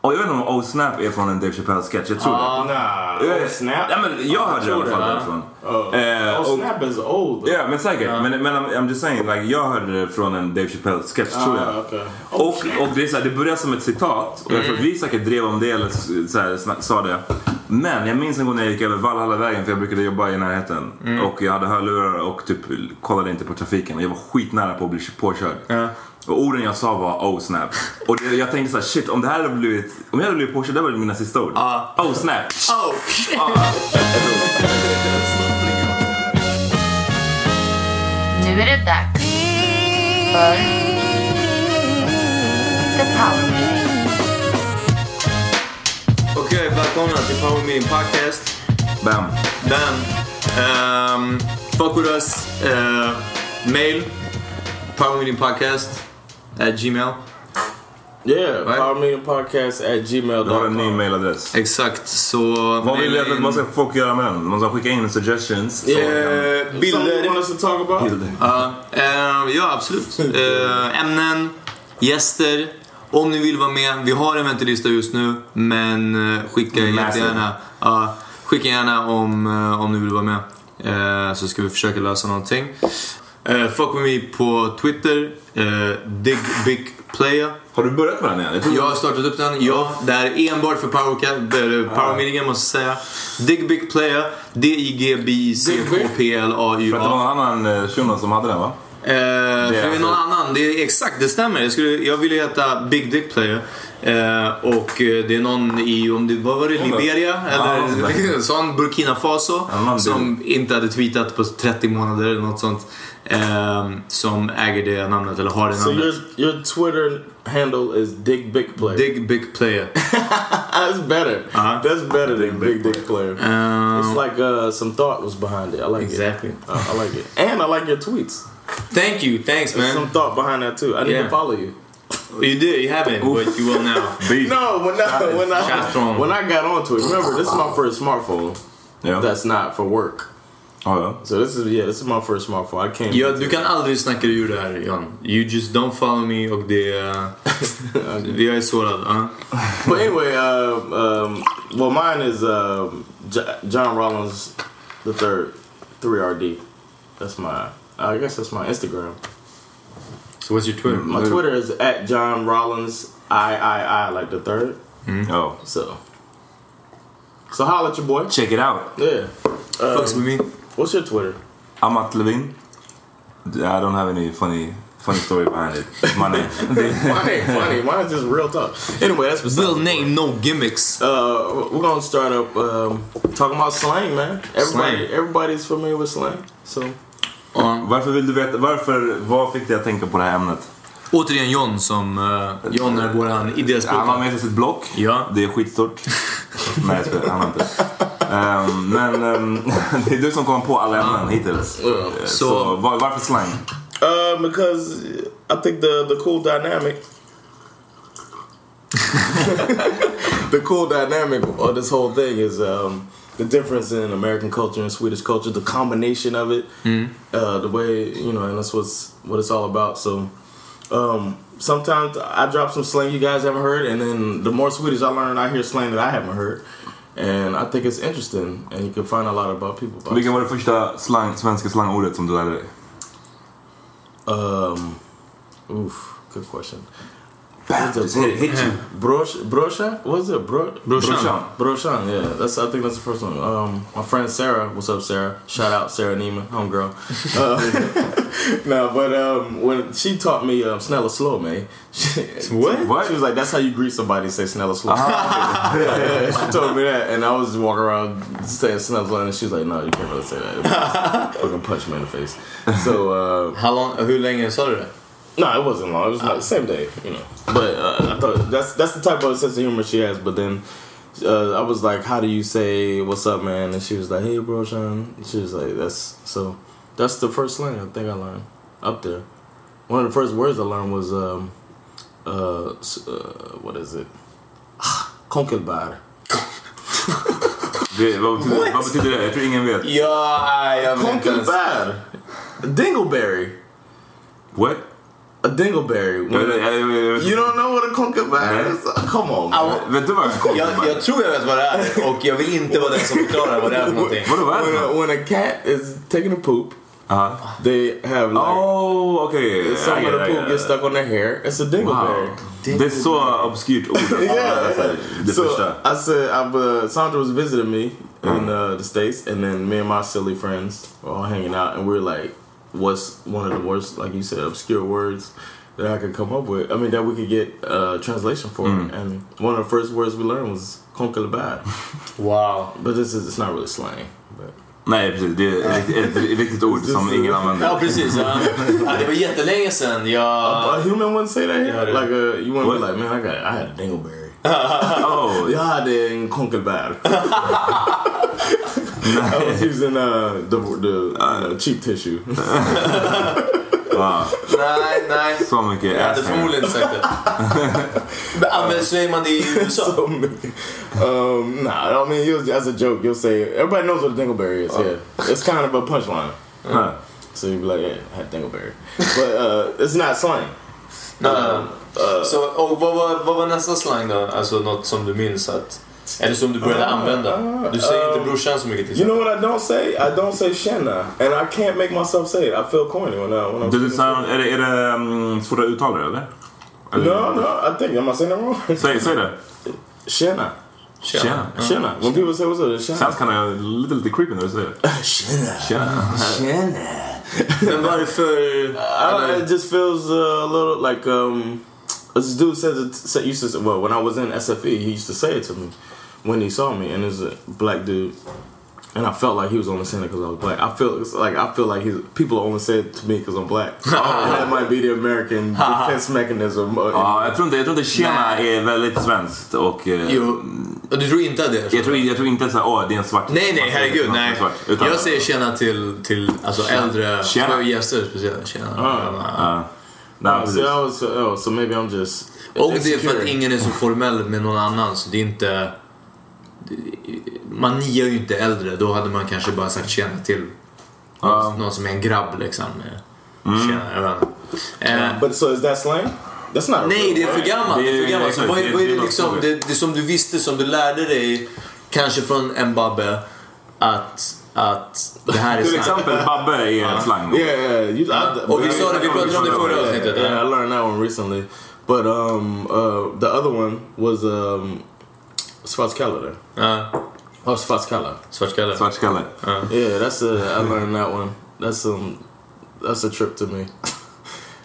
Och jag vet inte om Oh Snap är från en Dave Chappelle-sketch, jag tror det. Jag- Ja, men jag hörde det i alla fall därifrån. Eh, och- is old. Ja, men säkert. Men, men I'm, I'm just saying, like, jag hörde det från en Dave Chappelle-sketch tror jag. Ah, okej. Mm. Och, och det, är så här, det börjar som ett citat och jag tror att vi säkert drev om det eller s- så här, sna- sa det. Men jag minns en gång när jag gick över Valhallavägen för jag brukade jobba i närheten. Mm. Och jag hade hörlurar och typ kollade inte på trafiken och jag var skitnära på att bli påkörd. Och orden jag sa var oh snap. Och det, jag tänkte så här, shit om det här hade blivit, om jag hade blivit påkörd, det var mina sista ord. Oh snap. Oh, Nu är det dags för The Power Meeting. Okej, välkomna till Power Meeting Podcast. Bam. Bam. Um, fuck with us. Uh, mail. Power Meeting Podcast at Gmail. Yeah, Right? powermeetingpodcast at Du har en ny gmail.com. mailadress. Exakt, så... Vad vill du maila att in- man ska folk göra med den? Man ska skicka in suggestions. så- Eh, Something you want Bilder. us to talk about? Ja, eh, ja, absolut. Eh, ämnen, gäster. Om ni vill vara med. Vi har en väntelista just nu, men eh, skicka Massive. jättegärna. ja, skicka gärna om, eh, om ni vill vara med. Eh, så ska vi försöka lösa någonting. Eh, fuck with me på Twitter. Uh, dig big player. Har du börjat med den igen? Jag tror- Jag har startat upp den, ja. Det här är enbart för powerca- eller powermeetingen måste jag säga. Dig big player. D-I-G-B-I-C-K-P-L-A-U-A. För att det var en annan eh, shuno som hade den va? Eh, för det är någon annan, det är exakt, det stämmer. Jag, skulle, jag ville heta Big Dick Player. Eh, och eh, det är någon i, om det, vad var det, Liberia? Eller sån, Burkina Faso. Ja, någon Som inte hade tweetat på 30 månader eller något sånt. Eh, som äger det namnet, eller har det So namnet. your your Twitter handle is Dig Big Player. Dig Big Player. That's better. Uh-huh. That's better than Big Dick Player. Um, it's like uh, some thought was behind it. I like Exactly. it. Uh, I like it. And I like your tweets. Thank you, thanks There's man. some thought behind that too. I need Yeah. to follow you. You did, you haven't, but you will now. Beef. No, when I when Shots thrown. I when I got onto it, remember this is my first smartphone. Ja. That's not for work. Ja, ja. So this is yeah, this is my first smartphone. I came. Ja, du kan aldrig snacka dig ur det här John. You just don't follow me och det... är- jag är sårad. ja. But anyway, uh, um, well, mine is uh, J- John Rollins the third, three RD. That's my. I guess that's my Instagram. So what's your Twitter? My Twitter is at John Rollins I I I like the third. Ja. So. So holla at your boy. Check it out. Eh, Yeah. Uh, Fucks with me. what's your Twitter? Amat Levin. I don't have any funny funny story behind it. My name. Mine ain't funny. Mine's just real talk. Anyway, that's besides Real the point. name, no gimmicks. Uh, we're gonna start up um, talking about slang, man. Everybody, Slang. everybody's familiar with slang, so Ja. Varför vill du veta? Varför? Vad fick dig att tänka på det här ämnet? Återigen John som... eh, John är våran Han har idéspråkare. med sig sitt block. Ja. Det är skitstort. Nej, jag skojar. Han har inte. Ehm, men ehm, det är du som kom på alla ämnen hittills. Eh, Så, Så- var, varför slang? Uh, because I think the the cool dynamic, the cool dynamic of this whole thing is um, the difference in American culture and Swedish culture, the combination of it, uh, the way you know, and that's what's what it's all about. So um, sometimes I drop some slang you guys haven't heard, and then the more Swedish I learn, I hear slang that I haven't heard. And I think it's interesting, and you can find a lot about people. About Vilket var det första slang, svenska slangordet som du lärde dig? Um, oof, good question. Bam! What's Hit, hit you. Brosh, brosha? What is it? Bro, Brorsan. Broshan, yeah. That's I think that's the first one. Um, my friend Sarah, what's up, Sarah? Shout out Sarah Neiman, homegirl. Uh, no, but um, when she taught me um, snälla slow, man. What? What? Ah. She was like, that's how you greet somebody. Say snälla slow. yeah, she told me that, and I was just walking around saying snälla slow, and she was like, no, you can't really say that. Fucking punch me in the face. So. Uh, How long, hur länge sa du det? no, it wasn't long. It was like the same day, you know. But uh, I thought that's that's the type of sense of humor she has. But then uh, I was like, "How do you say what's up, man?" And she was like, "Hey, bro, Sean." She was like, "That's so." That's the first slang I think I learned up there. One of the first words I learned was um, uh, s- uh what is it? Konkelbar. Det, vad, betyder, vad betyder det? Jag tror ingen vet. Ja, jag Konkelbar. Dingleberry. What? A dingleberry. Jag, jag, jag, jag, you don't know what a konkelbar is? Come on, man. vet du vad en konkel Jag, jag tror jag vet vad det är och jag vill inte vara den som förklarar vad det är för någonting. Vadå, vad är when det? a, when a cat is taking a poop, Aha. they have like Oh, okej. Okay. some of the poop gets stuck on their hair. It's a dingleberry. Ah. Det är så obskyrt ord. Yeah. Det första. So I said, I've, uh, Sandra was visiting me in uh, the states, and then me and my silly friends were all hanging out, and we are like, "What's one of the worst, like you said, obscure words that I could come up with? I mean, that we could get uh, translation for." And one of the first words we learned was "konkelbad," Wow. but this is it's not really slang, but. Nej, precis. Det är ett, ett, ett riktigt ord som ingen Ja, använder. precis. Ja. Ja, det var jättelänge sedan. Jag... A human wouldn't say that here. Yeah, like uh, you wouldn't What? be like, man, I got, I had a dingleberry. I Oh, had in Conkelbad. I was using uh, the the Uh, you know, cheap tissue. Nej, nej. så mycket Jag hade ass hair. förmodligen inte sagt det. Men Använder säger man det i USA? So, um, nah, I mean, you'll, as a joke, you'll say everybody knows what a dingleberry is. Oh. Yeah, it's kind of a punchline. Huh. So you'd be like, yeah, I had dingleberry, but uh, it's not slang. Ja. Så, och vad, var, vad var nästa slang då? Alltså något som du minns att... Eller som du började använda? Du säger inte brorsan så mycket till You know exempel. what I don't say? I don't say shanna, and I can't make myself say it. I feel corny when I when I'm. Does it sound, är det, är det mm, svårt att uttala det, eller? eller No, no, I think am I saying that wrong? Säg, säg det. Shanna. Tjena. Shanna. Uh-huh. When people say what's up, it's Shanna. Sounds kind of lite, lite creepy när du säger det. Shanna. Tjena. Shanna. Men varför... I, it just feels uh, a little like um, this dude says it said, used to say, well when I was in SFE he used to say it to me when he saw me and it's a black dude and I felt like he was only saying it because I was black. I feel it's like I feel like he's, people only say it to me because I'm black. And that might be the American defense mechanism. Uh, Ja, jag tror inte, jag tror inte tjena är väldigt svenskt och... eh, Jo. Och Du tror inte att det är så? Jag tror, jag tror inte såhär, åh det är en svart. Nej, nej, man- herregud. man- Nej. Svart, utan, Jag säger tjena till, till alltså äldre Tjena. små gäster speciellt. Tjena. nej, precis. so, I was, oh, so maybe I'm just Och det är för insecure. att ingen är så formell med någon annan så det är inte... Man niar ju inte äldre. Då hade man kanske bara sagt tjena till någon, någon som är en grabb liksom. Mm. Tjena, jag vet inte. Eh, But so is that slang? That's not. Nej, real, det är för right? gammalt. Det är för gammalt. Så exakt. vad, är- Det är- vad är det det är liksom, något det, det som du visste, som du lärde dig, kanske från en babbe, att, att det här är Till snack. exempel Babbe är en slang. då. Yeah, yeah. You, I, Oh, we saw it, we put it on the photo, Yeah, I think, yeah, yeah. I learned that one recently. But um, uh, the other one was um, Svartskalle. Ja, Oh, Svartskalle. svartskalle. Svartskalle. Yeah, that's a. I learned that one. That's um, that's a trip to me.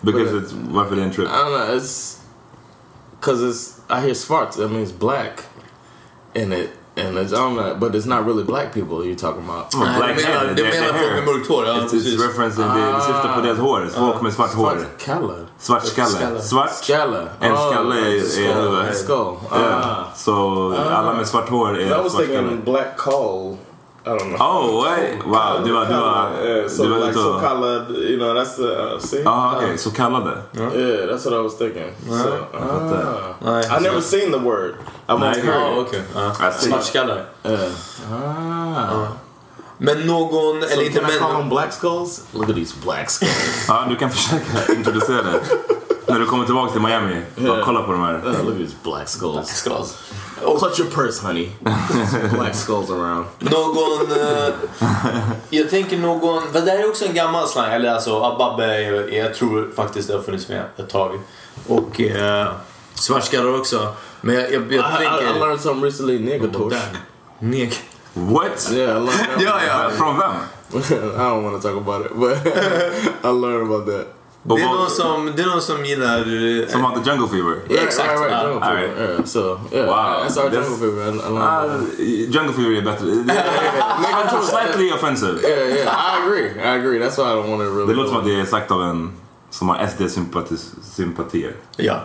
Because it's, varför det är en trip? I don't know. It's because it's. I hear Svart. That means black, in it, and it's, I don't know. But it's not really black people you're talking about. Oh, Nej, du menar, hair, du det är menar folk hair. med mörkt hår? Ja, It's, precis. Ah. it's referencing, det det syftar på deras hår. Folk med svart hår. Svartskalle. Svartskalle. Svart. Skalle. En skalle är- är skull. huvud. skull. Ah. Ja, Så alla med svart hår I är was svartskalle. thinking black call. I don't know. Oh, wait. Wow, det var... Det var, eh, yeah, so det var like ute so och... colored, you know, that's the uh, see. Ah, okej. Så kallade. Yeah, that's what I was thinking. So, ah. Oh, I never seen the word. I've only Nice. heard Ja, it. okej. Ja. Eh. Alltså, Svartskallar. Ah. Men någon, So eller inte can I call men... them black skulls? Look at these black skulls. Ja, du kan försöka introducera det. När du kommer tillbaka till Miami. Bara kolla på de här. Uh, look at these black skulls. Skulls. Oh, clutch your purse, honey. There's black skulls around. Någon... eh, jag tänker någon... För det här är också en gammal slang. Eller alltså ababbe, är- jag tror faktiskt det har funnits med ett tag. Och eh, svartskallar också. Men jag, jag, jag I, I, I tänker... learned something recently, nigga torch. Där. Neg. What? Yeah, I learned that. Ja, ja. Från vem? I don't want to talk about it, but I learned about that. Och Det är vad- någon som, det är någon som gillar... eh, Som hade Jungle Fever? Yeah, Exactly. Right, right, jungle All fever. Yeah, so yeah, Wow. that's our That's- jungle fever. I, I learned Ah, about that. Jungle Fever är bättre. Det är slightly offensive. Yeah, yeah, I agree. I agree. That's why I don't want to really. Det låter som att det är sagt av en som har SD-sympatier. Ja.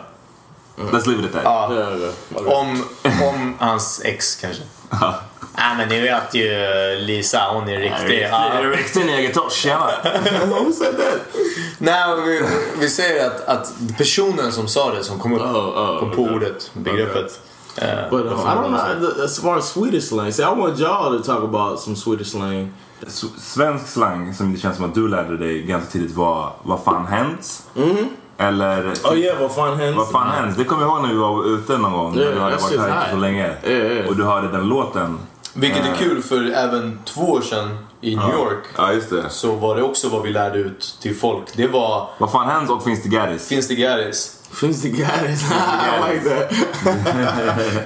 Let's leave it at that. Yeah, yeah. Okay. Om, om hans ex kanske. Nej men ni vet ju Lisa, hon är riktig. Är du riktig negertorsk? Tjena! Nej, vi, vi säger att, att personen som sa det, som kom upp oh, kom på ordet, begreppet. eh, But um, vad I fan don't var det? know. the- As far as Swedish slang, see, I want y'all to talk about some Swedish slang. S- Svensk slang som det känns som att du lärde dig ganska tidigt var vad fan hänt? Mm. Eller typ, Oh yeah, well, fun hands. vad fan hänt? Det kommer jag ihåg när vi var ute någon gång. Yeah, när du hade that varit shit's här inte high. så länge. Yeah, yeah. Och du hörde den låten. Vilket är kul för även två år sedan i New York Ja, just det. så var det också vad vi lärde ut till folk. Det var Vad fan hänt och finns det Garris? Finns det Garris? Finns the Gaddis. I like that.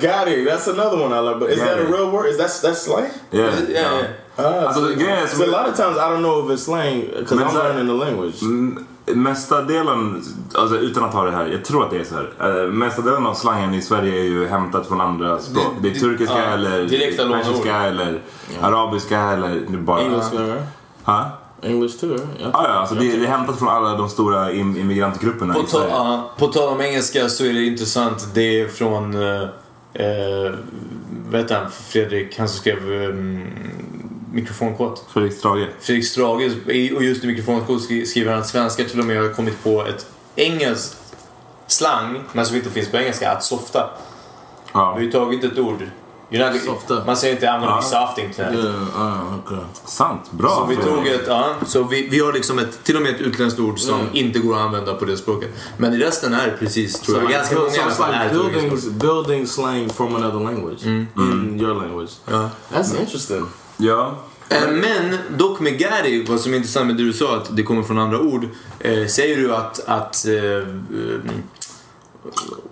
Gotti, that's another one I like. But is that a Gotti. real word? Is that that's slang? Yeah. Ja, ja. Uh, Alltså, grejen är so a som- lot of times I don't know if it's slang because Men I'm så här- learning the language. M- Mesta delen, alltså utan att ha det här, jag tror att det är så här. Eh, mesta delen av slangen i Sverige är ju hämtat från andra språk. Det, Det- är turkiska ja, eller direkta lånord. persiska eller arabiska eller det är bara... English, right? Ha? English too, right? Yeah. Ah, ja, alltså det, det är hämtat från alla de stora im- immigrantgrupperna På, i ta, Sverige. ja, på tal om engelska så är det intressant. Det är från eh, eh, vet han, Fredrik, han som skrev eh, mikrofonkåt. Fredrik Strage. Fredrik Strage, i- och just i mikrofonkod skri- skriver han att svenskar till och med har kommit på ett engelskt slang, men som inte finns på engelska, att softa. Vi Ja, har ju tagit ett ord. You're not, Softa. Man säger inte I'm gonna be Ja. softing tonight. Yeah, ah, okay. sant. Bra. Så vi Fredrik. tog ett, ja, så vi, vi har liksom ett, till och med ett utländskt ord som inte går att använda på det språket. Men i resten är det precis, tror So jag, like, ganska build- många i so alla it's fall like är ett utländskt buildings, språk. building slang from another language in your language. Ja. That's interesting. Ja. Eh, Men dock med Gary, vad som är intressant med det du sa att det kommer från andra ord. Eh, säger du att, att eh, mm,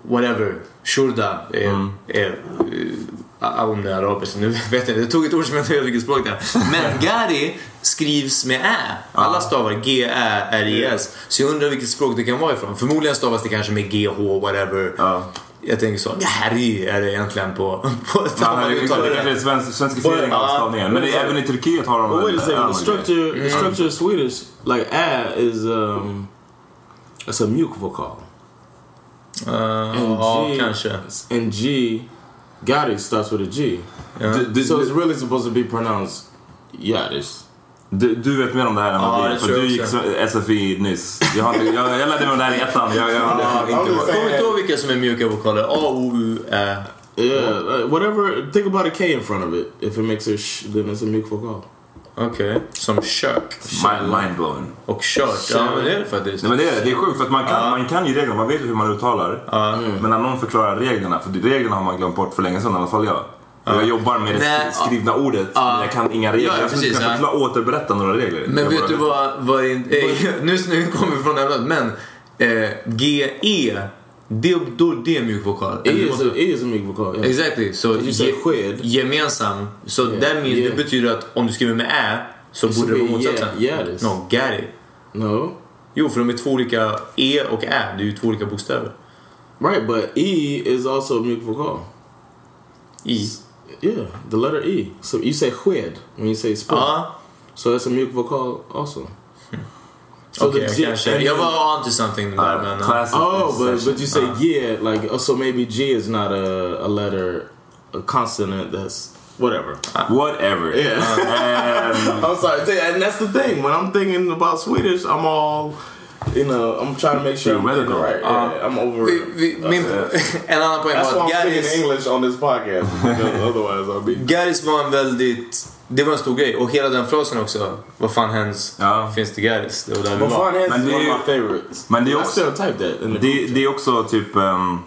whatever, shurda är, är eh, Ah, Om det är arabiska, nu vet jag inte. Det tog ett ord som jag inte vet vilket språk det är. Men Gari skrivs med Ä. Ah. Alla stavar G-Ä-R-I-S. Så jag undrar vilket språk det kan vara ifrån. Förmodligen stavas det kanske med G-H, whatever. Ja. Jag tänker så. Gary är det egentligen på... på ett Ja, annat det uttal. är kanske är svensk, svenskifiering av Ja. stavningen. Men det, är- även i Turkiet har de But wait a en- second. en- The structure, the structure of Swedish, like "ä" is um, it's a mute vocal, Eh, Ja, kanske. and G, Gary starts with a G. Du, du, So it's du, really supposed to be pronounced Yadish. du, du vet mer om det här än vad Ja, vi det gör, för tror jag du gick också. s- SFI nyss. Jag, har inte, jag, jag lärde mig om det här i ettan. Jag, jag, har inte just varit- saying. Kommer inte ihåg vilka som är mjuka vokaler. A, O, U, Ä. Yeah, like, whatever. Think about a K in front of it. If it makes a sh, then it's a mute vocal. Okej. Som kök. mind, mind blown. Och kört. Ja, men det är det faktiskt. Nej, men det, är, det är sjukt för att man kan, man kan ju reglerna, man vet ju hur man uttalar. Men när någon förklarar reglerna, för reglerna har man glömt bort för länge sedan i alla fall jag. Och Jag jobbar med det Nej, sk- skrivna ordet, men jag kan inga regler. Ja, ja, jag skulle precis, inte kunna ja. förklara, återberätta några regler. Men Jag vet bara- du vad, vad är, eh, nu, nu kommer vi från ämnet, men eh, GE, det, då det är E mjuk vokal. It Eller E du is. måste- A, it is a mute vocal. Yeah. Exactly, så You said sked. gemensam. Så that means, yeah. det betyder att om du skriver med Ä så borde det should vara be motsatsen. yeah, yeah, this. no, Gary. No. Jo, för de är två olika E och Ä, det är ju två olika bokstäver. Right, but E is also a mute vocal. I. Yeah, the letter E. So you say hued when you say spoon. Ja, So that's a mute vocal also. So okej, G- kanske. and Jag then- var onto something där, Ja, men... classic Oh, but session. Uh-huh. but you say yeah, like oh, so maybe G is not a, a letter, a consonant. That's whatever. Uh-huh. Whatever. Ehm, I'm sorry, th- and that's the thing. When I'm thinking about Swedish, I'm all, you know, I'm trying to make sure I'm getting it right. Theoretical. Uh-huh. Yeah, I'm over. Vi, vi, min, Alltså, en annan poäng That's var why att I'm speaking Garys English on this podcast. because otherwise, I'll be. Garris var en väldigt... Det var en stor grej. Och hela den frasen också. Vad fan hens Ja. finns det Garris? Det var där vi But var. Fun Hands Man, is do one you- of my favorites. man, do you I also- still type that in the Det, det är också typ... ehm,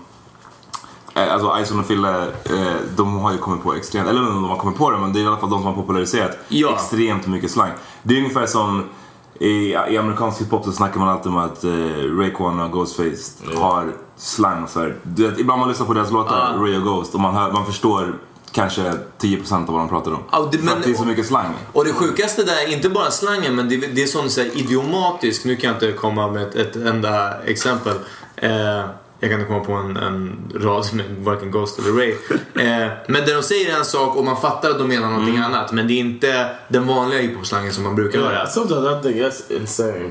eh, alltså Ison och Fille, eh, de har ju kommit på extremt, eller jag vet inte om de har kommit på det, men det är i alla fall de som har populariserat Ja. extremt mycket slang. Det är ungefär som i, i amerikansk hiphop så snackar man alltid om att eh, Raekwon och Ghostface har slang för... Du vet, ibland man lyssnar på deras låtar, Ray och Ghost, och man, hör, man förstår kanske 10% av vad de pratar om. Ja, det- för men- att det är så mycket slang. Och det sjukaste där, är inte bara slangen, men det, det är sån så här idiomatisk. Nu kan jag inte komma med ett, ett enda exempel. Eh, jag kan inte komma på en, en rad med varken Ghost eller Ray. Eh, men där de säger en sak och man fattar att de menar någonting annat. Men det är inte den vanliga hiphop-slangen som man brukar Yeah, höra. sometimes I think that's insane.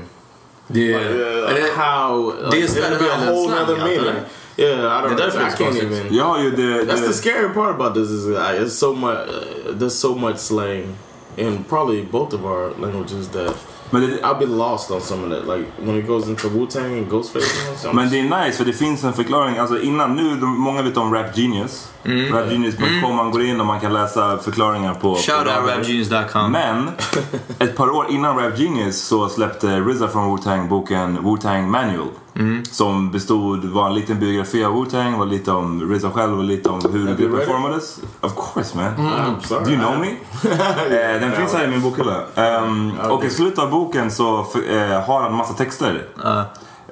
Det är, Yeah, eller- how like, this it'll be a island whole slang other out there. meaning. Yeah, I don't. that's I can't responsive. even. Jag har ju det... That's det the scary part about this is uh, it's so much. Uh, there's so much slang in probably both of our languages that men det, I'll be lost on some of that. Like when it goes into Wu Tang and Ghostface. And stuff, Men det är nice för det finns en förklaring. Alltså innan nu, de, många vet om Rap Genius. Rapgenius.com, man går in och man kan läsa förklaringar på... på Shoutout rader. rapgenius.com. Men ett par år innan Rap Genius så släppte RZA från Wu-Tang boken Wu-Tang Manual. Mm. Som bestod, var en liten biografi av Wu-Tang, var lite om RZA själv och lite om hur you read gruppen it? Mm. formades. Of course man. I'm sorry. Do you know me? Eh, Den finns här i min bokhylla. Ehm, Och i slutet av boken så eh, har han massa texter.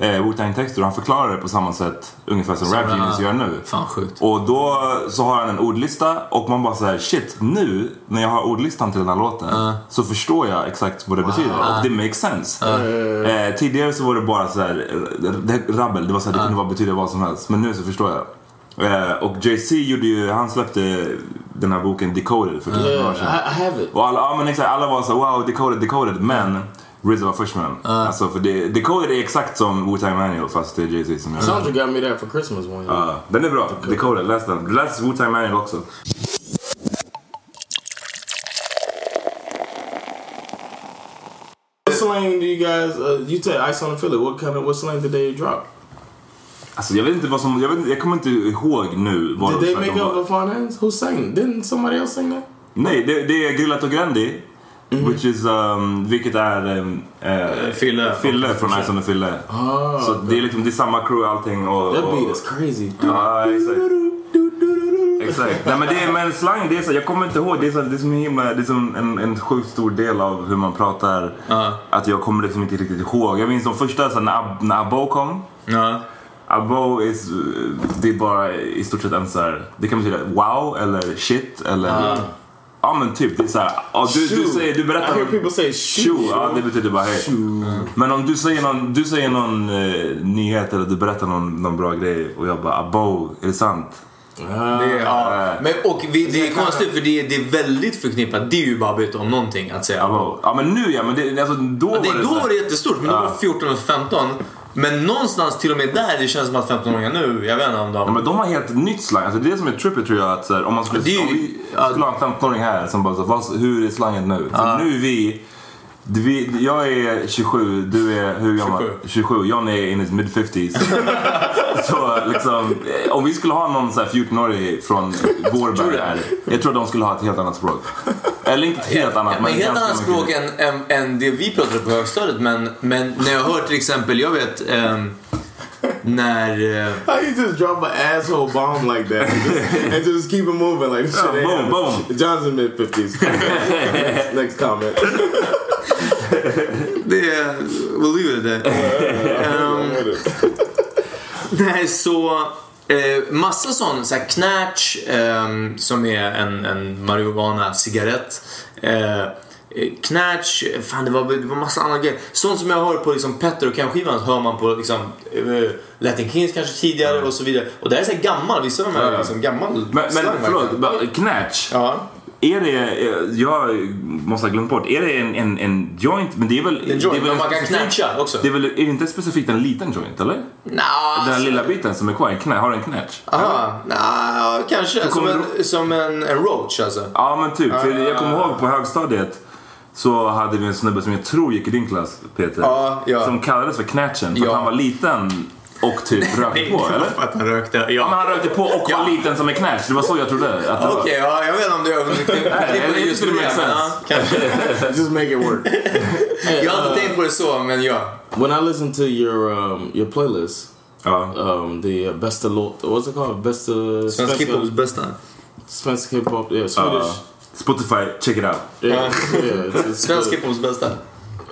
Eh, Wu-Tang texter och han förklarar det på samma sätt ungefär som Rap Genius gör nu. Fan sjukt. Och då så har han en ordlista och man bara så här: shit nu när jag har ordlistan till den här låten så förstår jag exakt vad det betyder och det makes sense. Eh, tidigare så var det bara så här, eh, det- rabbel, det, var så här, det kunde bara betyda vad som helst men nu så förstår jag. Eh, och Jay-Z gjorde ju, han släppte den här boken Decoded för typ några år Yeah, sedan. I, I have it. Och alla, ja, men exakt, alla var så här, wow Decoded, Decoded men RZA var först med den. Alltså för det, Decoded är exakt som Wu-Tang Manual fast det är Jay-Z som gör den. Sandra got me that for Christmas one year. Ja, Den är bra, Decoded, läs den. Läs Wu-Tang Manual också. what slang do you guys? Uh, you take Ice on the Philly. What kind of what slang did they drop? Alltså jag vet inte vad som, jag, vet, inte- jag kommer inte ihåg nu vad Did de they snackade make om. up the Fun Hands? Who sang? Didn't somebody else sing that? Nej, det, det är Grillat och Grandi. Which is, um, vilket är um, eh, Fille. Fille från Ice on the Fille. så det är liksom, det är samma crew allting och... That beat och is crazy. ja, exakt. Exakt. Nej men det är, men slang, det är så, jag kommer inte ihåg. Det är så, det är som, himla, det är som en, en sjukt stor del av hur man pratar. Att jag kommer liksom inte riktigt ihåg. Jag minns de första, så, här, när, Ab- när Abbo kom. Ja. Abo is, det är bara i stort sett en så här, det kan betyda wow eller shit eller Ja men typ, det är såhär, ja, du, du, Shoo. säger, du berättar Ah. I hear people say shoo. Shoo, ja det betyder bara hej. Shoo. Men om du säger någon, du säger någon eh, nyhet eller du berättar någon, någon bra grej och jag bara abo, är det sant? Det är, ja. Eh. Men, och vi, det är konstigt för det är, det är väldigt förknippat. Det är ju bara att byta om någonting att säga abo. Abo. Ja men nu ja, men det, alltså, då Ja, det, då så här- var det jättestort, men då var Ja. det 14 och 15. Men någonstans till och med där, det känns som att 15-åringar nu, jag vet inte om Ja, de... men de har helt nytt slang. Alltså, det är det som är trippy tror jag. Att, så här, om man skulle, Det är ju- om vi skulle ha en 15-åring här som bara så, här, "Vad- hur är slanget nu? För nu är vi, vi, jag är 27, du är hur gammal? 27. 27, John är in his mid 50s. så liksom, eh, om vi skulle ha någon så här 14-årig från Tror Vårberg du? här, jag tror de skulle ha ett helt annat språk. Eller inte ett helt annat, Ja, men helt ganska annat mycket språk än, än, än det vi pratade på högstadiet. Men, men när jag hör till exempel, jag vet ehm, när... eh, How you just drop an asshole bomb like that and just, and just keep it moving like this Yeah, shit ain't Oh, boom, happening. John's in mid fifties. next, next comment. Det är... We'll leave it at that. Ehm, Nej, så... Eh, massa sån, så här knatch, ehm, som är en, en marijuana-cigarett. Eh, eh, knatch, fan det var, det var massa andra grejer. Sånt som jag hör på liksom Petter och Ken-skivan hör man på liksom eh, Latin Kings kanske tidigare och så vidare. Och det här är så här gammal, vissa av de här är liksom gammal Men, men slang, förlåt, verkligen. bara, knatch. Ja. Är det, eh, jag måste ha glömt bort, är det en, en, en joint? Men det är väl... Det är en joint, det är väl men man kan specifik- knatcha också. Det är väl är det inte specifikt en liten joint, eller? Nja, Den här lilla biten som är kvar, en knä, har en knatch? Aha, nja, kanske. Som kommer en, som en, en roach alltså. Ja men typ, för jag kommer ihåg på högstadiet så hade vi en snubbe som jag tror gick i din klass, Peter. Ja, ja. Som kallades för knatchen för Ja. att han var liten och typ rökte på, eller? att han rökte. Ja men han rökte på och Ja. var liten som en knatch, det var så jag trodde. Att det var. Okej, ja, jag vet inte om du jag överdriver tycker just det det. makes men, sense. ja, kanske. just make it work. Hey, Jag har uh, inte tänkt på det så, men ja. when I listen to your um, your playlist, Ja. um, the uh, best of lo- what's it called? Best of Svensk hiphops bästa. Svensk hip hop, Uh-huh. yeah, Swedish. Ja. Spotify, check it out. Yeah, yeah, it's, it's Svensk good. hiphops bästa.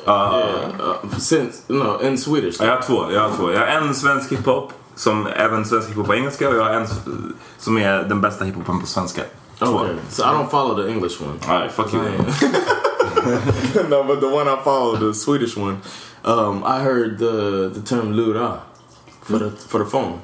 Uh, since no, in Swedish. Ja, Jag har två. Jag har två. Jag har en svensk hiphop, som även svensk hiphop på engelska och jag har en s- som är den bästa hiphopen på svenska. Två. Okay, so I don't follow the English one. Alright, fuck you. no, but the one I follow, the Swedish one, um, I heard the the term lura for the for the phone.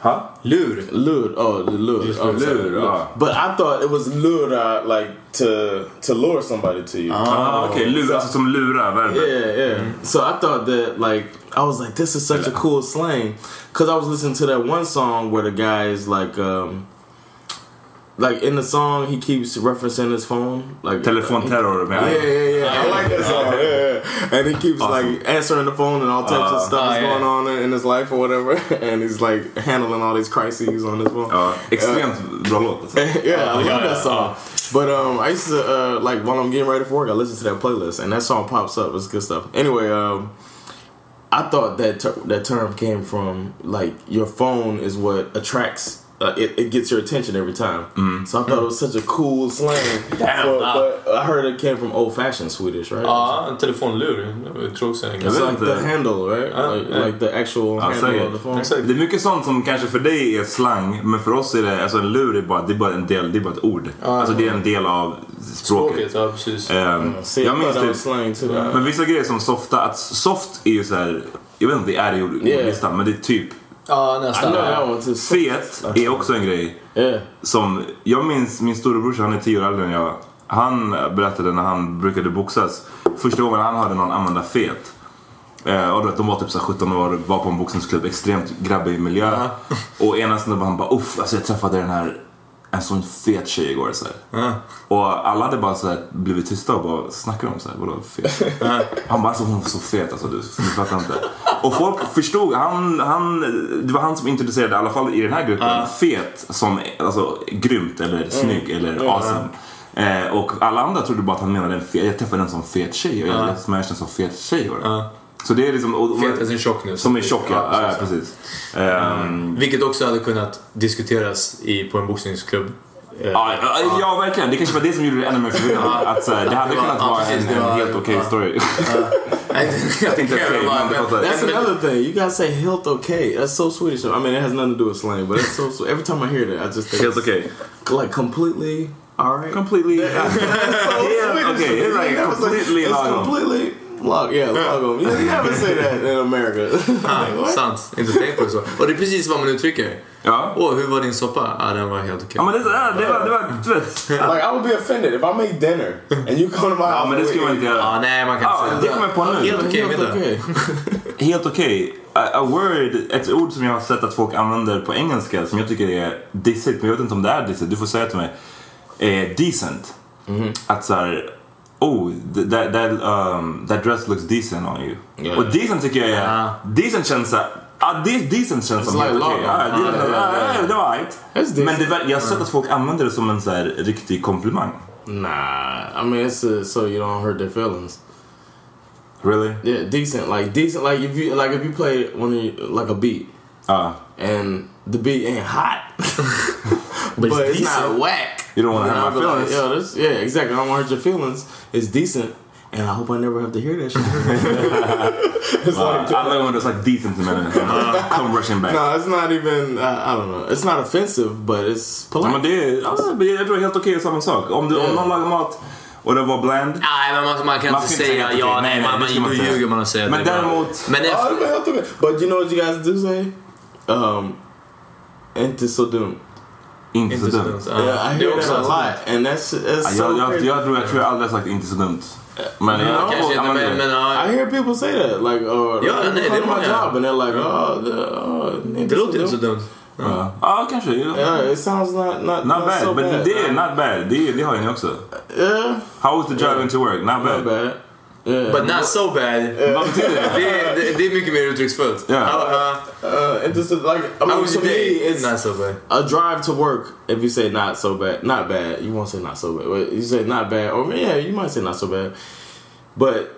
Ha? Lur. Lur, oh, the lure. oh, I'm sorry. lure, ah. But I thought it was lura, like to to lure somebody to you. Ah, Mm-hmm. Okej, lura. Alltså som lura, verbet. Yeah, yeah. So I thought that, like, I was like, this is such a cool slang. Because I was listening to that one song where the guy is like, um, like in the song, he keeps referencing his phone. Like, Telefonterror Yeah, med yeah, yeah. I like that song. Yeah, yeah. And he keeps Awesome. like answering the phone and all types of stuff Ah, is yeah. going on in- in his life or whatever. And he's like handling all these crises on his phone. Ja, extremt bra låt alltså. yeah, I love that song. But um, I used to uh, like while I'm getting ready for work, I listen to that playlist, and that song pops up. It's good stuff. Anyway, um, I thought that ter- that term came from like your phone is what attracts. Uh, it, it gets your attention every time. So I thought it was such a cool slang. but, but I heard it came from old fashioned Swedish, right? Ja, en telefonlur. Tråkig It's vet like the inte. handle, right? like, yeah. like the actual Ja, handle säkert. of the phone. Det är mycket sånt som kanske för dig är slang, men för oss är det, alltså en lur är bara, det är bara en del, det är bara ett ord. Ah, Alltså det är en del av språket. Tråkigt, ja precis. Ehm, See, jag I thought minns that typ, was slang too. Men vissa grejer som softa, att soft är ju så här. jag vet inte om det är det i ord- Yeah. ordlistan, men det är typ Ja, I know nästan. that one too. Fet är också en grej Yeah. som, jag minns min storebrorsa, han är tio år äldre än jag. Han berättade när han brukade boxas, första gången han hörde någon använda fet. Eh, och du vet, de var typ så här 17 år, var på en boxningsklubb, extremt grabbig miljö. Och ena snubben han bara uff, alltså jag träffade den här, en sån fet tjej igår. Så här. Och alla hade bara så här, blivit tysta och bara, snackar de om så här, vadå fet? Han bara, alltså hon var så fet alltså du, du fattar inte. Och folk förstod, han, han, det var han som introducerade, i alla fall i den här gruppen, fet som alltså, grymt eller snygg eller awesome. Eh, och alla andra trodde bara att han menade en fet, jag träffade en sån fet tjej och jag uh. smashade en sån fet tjej. Var det. Så det är liksom, och, och, Fet är sin tjock nu. som är tjock ja, ja, precis. ja, precis. Ehm, Vilket också hade kunnat diskuteras i, på en boxningsklubb. Eh, Ja, ja, ja, verkligen. Det kanske var det som gjorde det ännu mer förvirrande. Att så här, det hade Det var- kunnat ja, vara precis, en, det var- en helt okej ja. story. Jag tänkte care fel, about men det that. var- That's Nej, men- another thing. You gotta say health okay. That's so Swedish. I mean, it has nothing to do with slang, but it's so. Every time I hear that, I just think helt it's okej. like completely all right. Completely. helt okej. Det är like completely it's lagom. completely log. Yeah, log. You never say that in America. Like, what? Sant, inte tänkt på det så. Och det är precis vad man uttrycker. Ja. Åh, hur var din soppa? Ja, den var helt okej. Ja, men det, ja, det var... Det var du vet. Like I would be offended if I make dinner and you come to my Ja, house. men det skulle man inte Ja, Oh, göra. nej, man kan Ja, inte det säga kommer jag på nu. Helt okej middag. Helt okej. A, a word, ett ord som jag har sett att folk använder på engelska som jag tycker är dissigt, men jag vet inte om det är dissigt. Du får säga till mig. Är decent. Mhm. Att såhär, oh, th- that, that, um, that dress looks decent on you. Och decent tycker jag är, Ah. decent känns såhär, ah, de, decent känns som like helt okej. lagom. Ja, Ah, decent, ja, ja, ja, ja. ja, Det var alright. That's decent. Men det, ver- jag har sett att folk använder det som en såhär riktig komplimang. Nah, I mean it's uh, so you don't hurt their feelings. Really? Yeah, decent. Like decent. Like if you like if you play one of your, like a beat Ah, and the beat ain't hot, but, it's it's, not decent. whack. You don't wanna Then hurt I'll my be like, feelings. Yo, this, yeah, exactly. I don't want to hurt your feelings. It's decent, and I hope I never have to hear that shit. it's like, I love when it's like decent to men come rushing back. no, it's not even. I, I don't know. It's not offensive, but it's Ja, polite. men det är, alltså, men jag tror det är helt okej att samma sak. Om, du, om någon lagar mat och det var bland. Nej, men man, man kan Man inte ska inte säga säga ja, okej. nej, Nej, man, det man, ska man då inte ljuger göra. man och säger att Men det är bra. däremot- Men Oh, efter, it'll be health event. But you know what you guys do say? Um, inte så dumt. Inte så inte så dumt. dumt. Ja. Yeah, I Det hear är också that Uh, a sant. lot, and that's Ja, that's so. Jag, jag, crazy. jag, tror, jag tror jag aldrig har sagt inte så dumt. Men jag No, Kanske inte, använder men, det. men ja. I hear people say that, like, uh, Yeah, like, they- they they my might, yeah. job, and they're like, oh, the, oh, Det låter inte så dumt. Ja, Ja, kanske. ja. Yeah, it sounds not not Not not so bad, men bad. det är not bad. Det, är- det har ju ni också. yeah, How was the drive into work? Not not bad. bad. Yeah, But not so bad. Vad betyder det? Det, är- det, det är mycket mer uttrycksfullt. Ja. Eh. Ja, uh, it just like I ja. How mean, was to your me, day? it's Not so bad. a drive to work. If you say not so bad, not bad, you won't say not so bad. But you say not bad, or yeah, you might say not so bad, but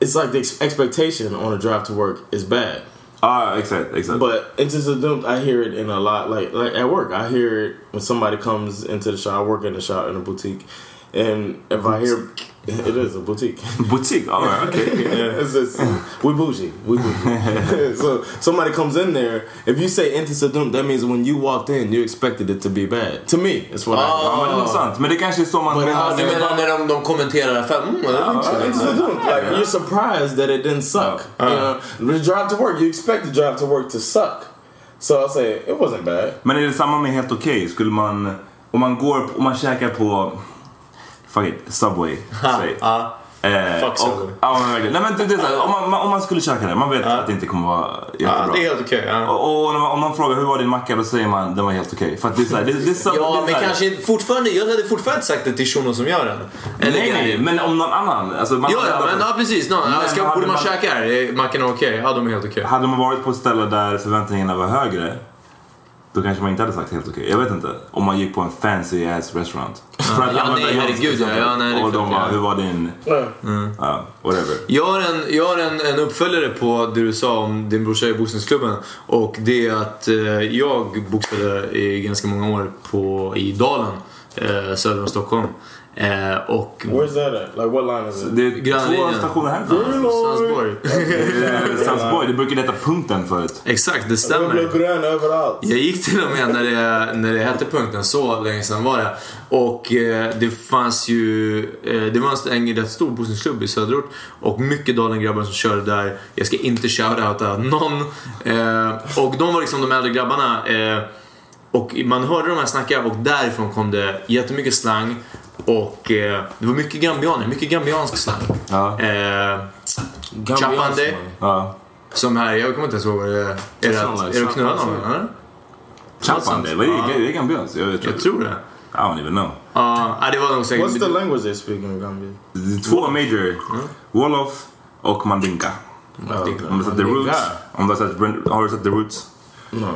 it's like the ex- expectation on a drive to work is bad. Ja, Ah, exakt. exakt. But it's just a dump. I hear it in a lot, like like at work. I hear it when somebody comes into the shop. I work in the shop in a boutique, and if I hear, it is a boutique. Butik? All right, okay. it's just, we bougie, we bougie. so somebody comes in there. If you say into the dump, that means when you walked in, you expected it to be bad. To me, it's what I. Ja, men det är nog sant. Men det kanske är så man... But it Ja, has- Du menar när de, de kommenterar affären? Mm, det var inte så Into the dumt. dump. Like you're surprised that it didn't suck. You know, the drive to work, you expect the drive to work to suck. So I'll say it wasn't bad. Men är det samma med helt okej? Skulle man... Om man går... Om man käkar på... Fuck it, Subway. säg. Ja. Eh, Fuck och, Subway. ja, men verkligen. Nej, men det, det är så här, om, man- man, om man skulle käka det, man vet att det inte kommer vara Ja, jättebra. Det är helt okej. ja. och, och om man- om någon frågar hur var din macka, då säger man den var helt okej. För att det är såhär, det, det är så, Ja, det är men så här- kanske inte- fortfarande. Jag hade fortfarande sagt det till shunon som gör den. Eller- Nej, nej, men om någon annan. Alltså, man Ja, ja, men ja, precis. No, Men ska, hade borde man, man- käka här? Är Mackorna okej? Ja, de är helt okej. Hade man varit på ett ställe där förväntningarna var högre, då kanske man inte hade sagt helt okej. Jag vet inte. Om man gick på en fancy ass restaurant. För att ja, använda nej, Johans herregud, exempel. ja, ja, nej, det är Och de bara, klart, ja. Mm. hur var din... Ja, whatever. Jag har, en, jag har en, en uppföljare på det du sa om din brorsa i boxningsklubben. Och det är att eh, jag boxade i ganska många år på, i Dalen, eh, söder om Stockholm. Eh, och Where's that at? Like, what line is it? Det är Grannlinjen. två stationer härifrån. Sandsborg. Eh, Sandsborg, det brukade heta punkten förut. Exakt, det Den stämmer. blev grön överallt. Jag gick till och med när det, när det hette punkten, så länge sedan var det. Och eh, det fanns ju, eh, det var en rätt stor boxningsklubb i söderort och mycket Dalen-grabbar som körde där. Jag ska inte shoutouta någon. Eh, och de var liksom de äldre grabbarna. Eh, och man hörde de här snacka och därifrån kom det jättemycket slang. Och eh, det var mycket gambianer, mycket gambiansk slang. Ja. Eh, Gambiansk Chapande, slang. Ja. som här, jag kommer inte ens ihåg vad det är. Är det att- är det att knulla någon? eller? Champande, vad är det? Det är Gambians? Jag vet Jag inte. tror det. I don't even know. Ja, nej, det var nog säkert... What's the language they speak in Gambia? Det är Två major. Hmm? Wolof och Mandinka. Om du har sett The Roots. Om du har sett, har du sett The Roots? No.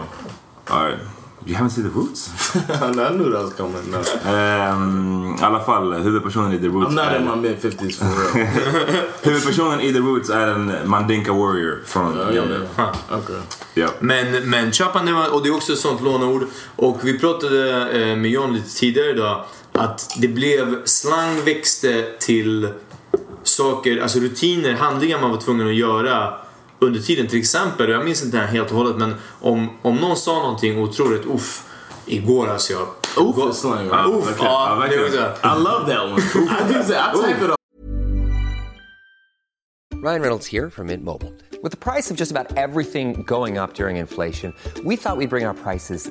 All right. You haven't seen The Roots? I knew that was coming. No. Ehm, I alla fall, huvudpersonen i The Roots I'm not är, in my mid 50s for real. Huvudpersonen i The Roots är en Mandinka warrior från Oh, Gambia. Okay. Ja. Men, men Chapanema, och det är också ett sånt låneord. Och vi pratade eh, med John lite tidigare idag. Att det blev, slang växte till saker, alltså rutiner, handlingar man var tvungen att göra under tiden. Till exempel, och jag minns inte det här helt och hållet, men om, om någon sa någonting otroligt uff igår alltså jag... Oof Ah, is slang, right? Oof, verkligen. Ja, ja, det verkligen. var så här. I love that one. I, do say, I type it Ryan Reynolds here from Mint Mobile. With the price of just about everything going up during inflation, we thought we'd bring our prices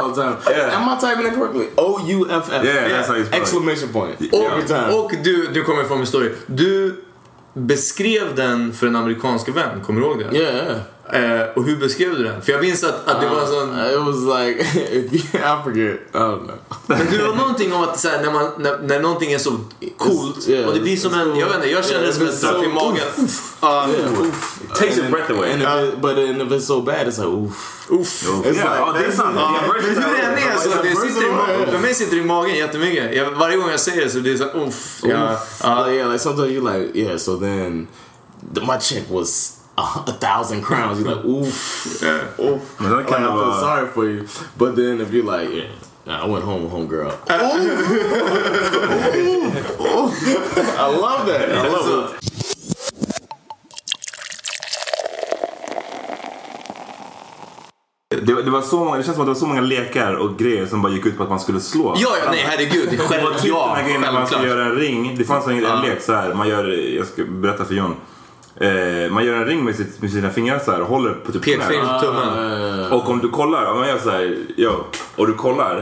all the time. Am I typing it correctly? O U F F. Yeah, that's how you spell it. Exclamation point. Every time. Och, och du, du kommer ifrån en story. Du beskrev den för en amerikansk vän, kommer du ihåg det? Yeah, yeah. Eh, och hur beskrev du den? För jag minns att, att det var en sån... Uh, it was like if you, I forget. I don't know. Men det var någonting om att så här, när, man, när, när någonting är så coolt yeah, och det blir som en, jag vet inte, jag känner det som en it's straff so- i magen. Ja, Oof. Takes your And- breath away. And if it, but then if it's so bad, it's like oof. Uff. It's Yeah, oh, det är sant. Yeah, Yeah, Men versus- hur det än är så, det sitter i magen. För Yeah. mig sitter det i magen jättemycket. Jag, varje gång jag säger det så blir det såhär uff. Ja, Uh, ja. yeah, like sometimes you like, yeah, so then the, my check was a, a thousand crowns. You're like, oof, oof. Men det Like, kan I ju feel vara... sorry for you. But then if you're like, yeah, nah, I went home with homegirl. Oof. Oof. I love that. I love it. Det, det, var så många, det känns som att det var så många lekar och grejer som bara gick ut på att man skulle slå. ja, ja, nej herregud. Det Det är var själv, typ den ja, här grejen när man ska självklart. göra en ring. Det fanns en, en lek så här. Man gör, jag ska berätta för John. Eh, man gör en ring med, sitt, med sina fingrar så här och håller på typ Pekfingret knät. och tummen. Och om du kollar, om man gör så här, yo, och du kollar,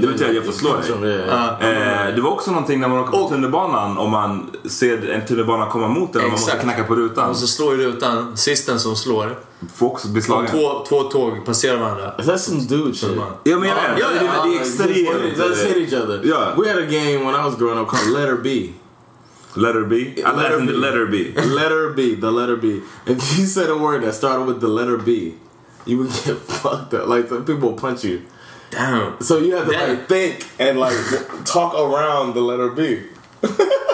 det betyder att jag får slå dig. Yeah. Eh, det var också någonting när man åker på Och- tunnelbanan om man ser en tunnelbana komma mot en och man måste Exakt. knacka på rutan. Och så slår ju rutan, sisten som slår. Får också bli slagen. Två, två tåg passerar varandra. Is that some dude shit? Ja men jag vet, Ja, det, ja, det, det är Let's hit exterior. each other. Yeah. We had a game when I was growing up called Letter B. Letter B. I Letter letter B. B. Letter B. Letter B, the letter B. If you said a word that started with the letter B, you would get fucked up. Like the people will punch you. Damn. So you have to Damn. like think and like talk around the letter B.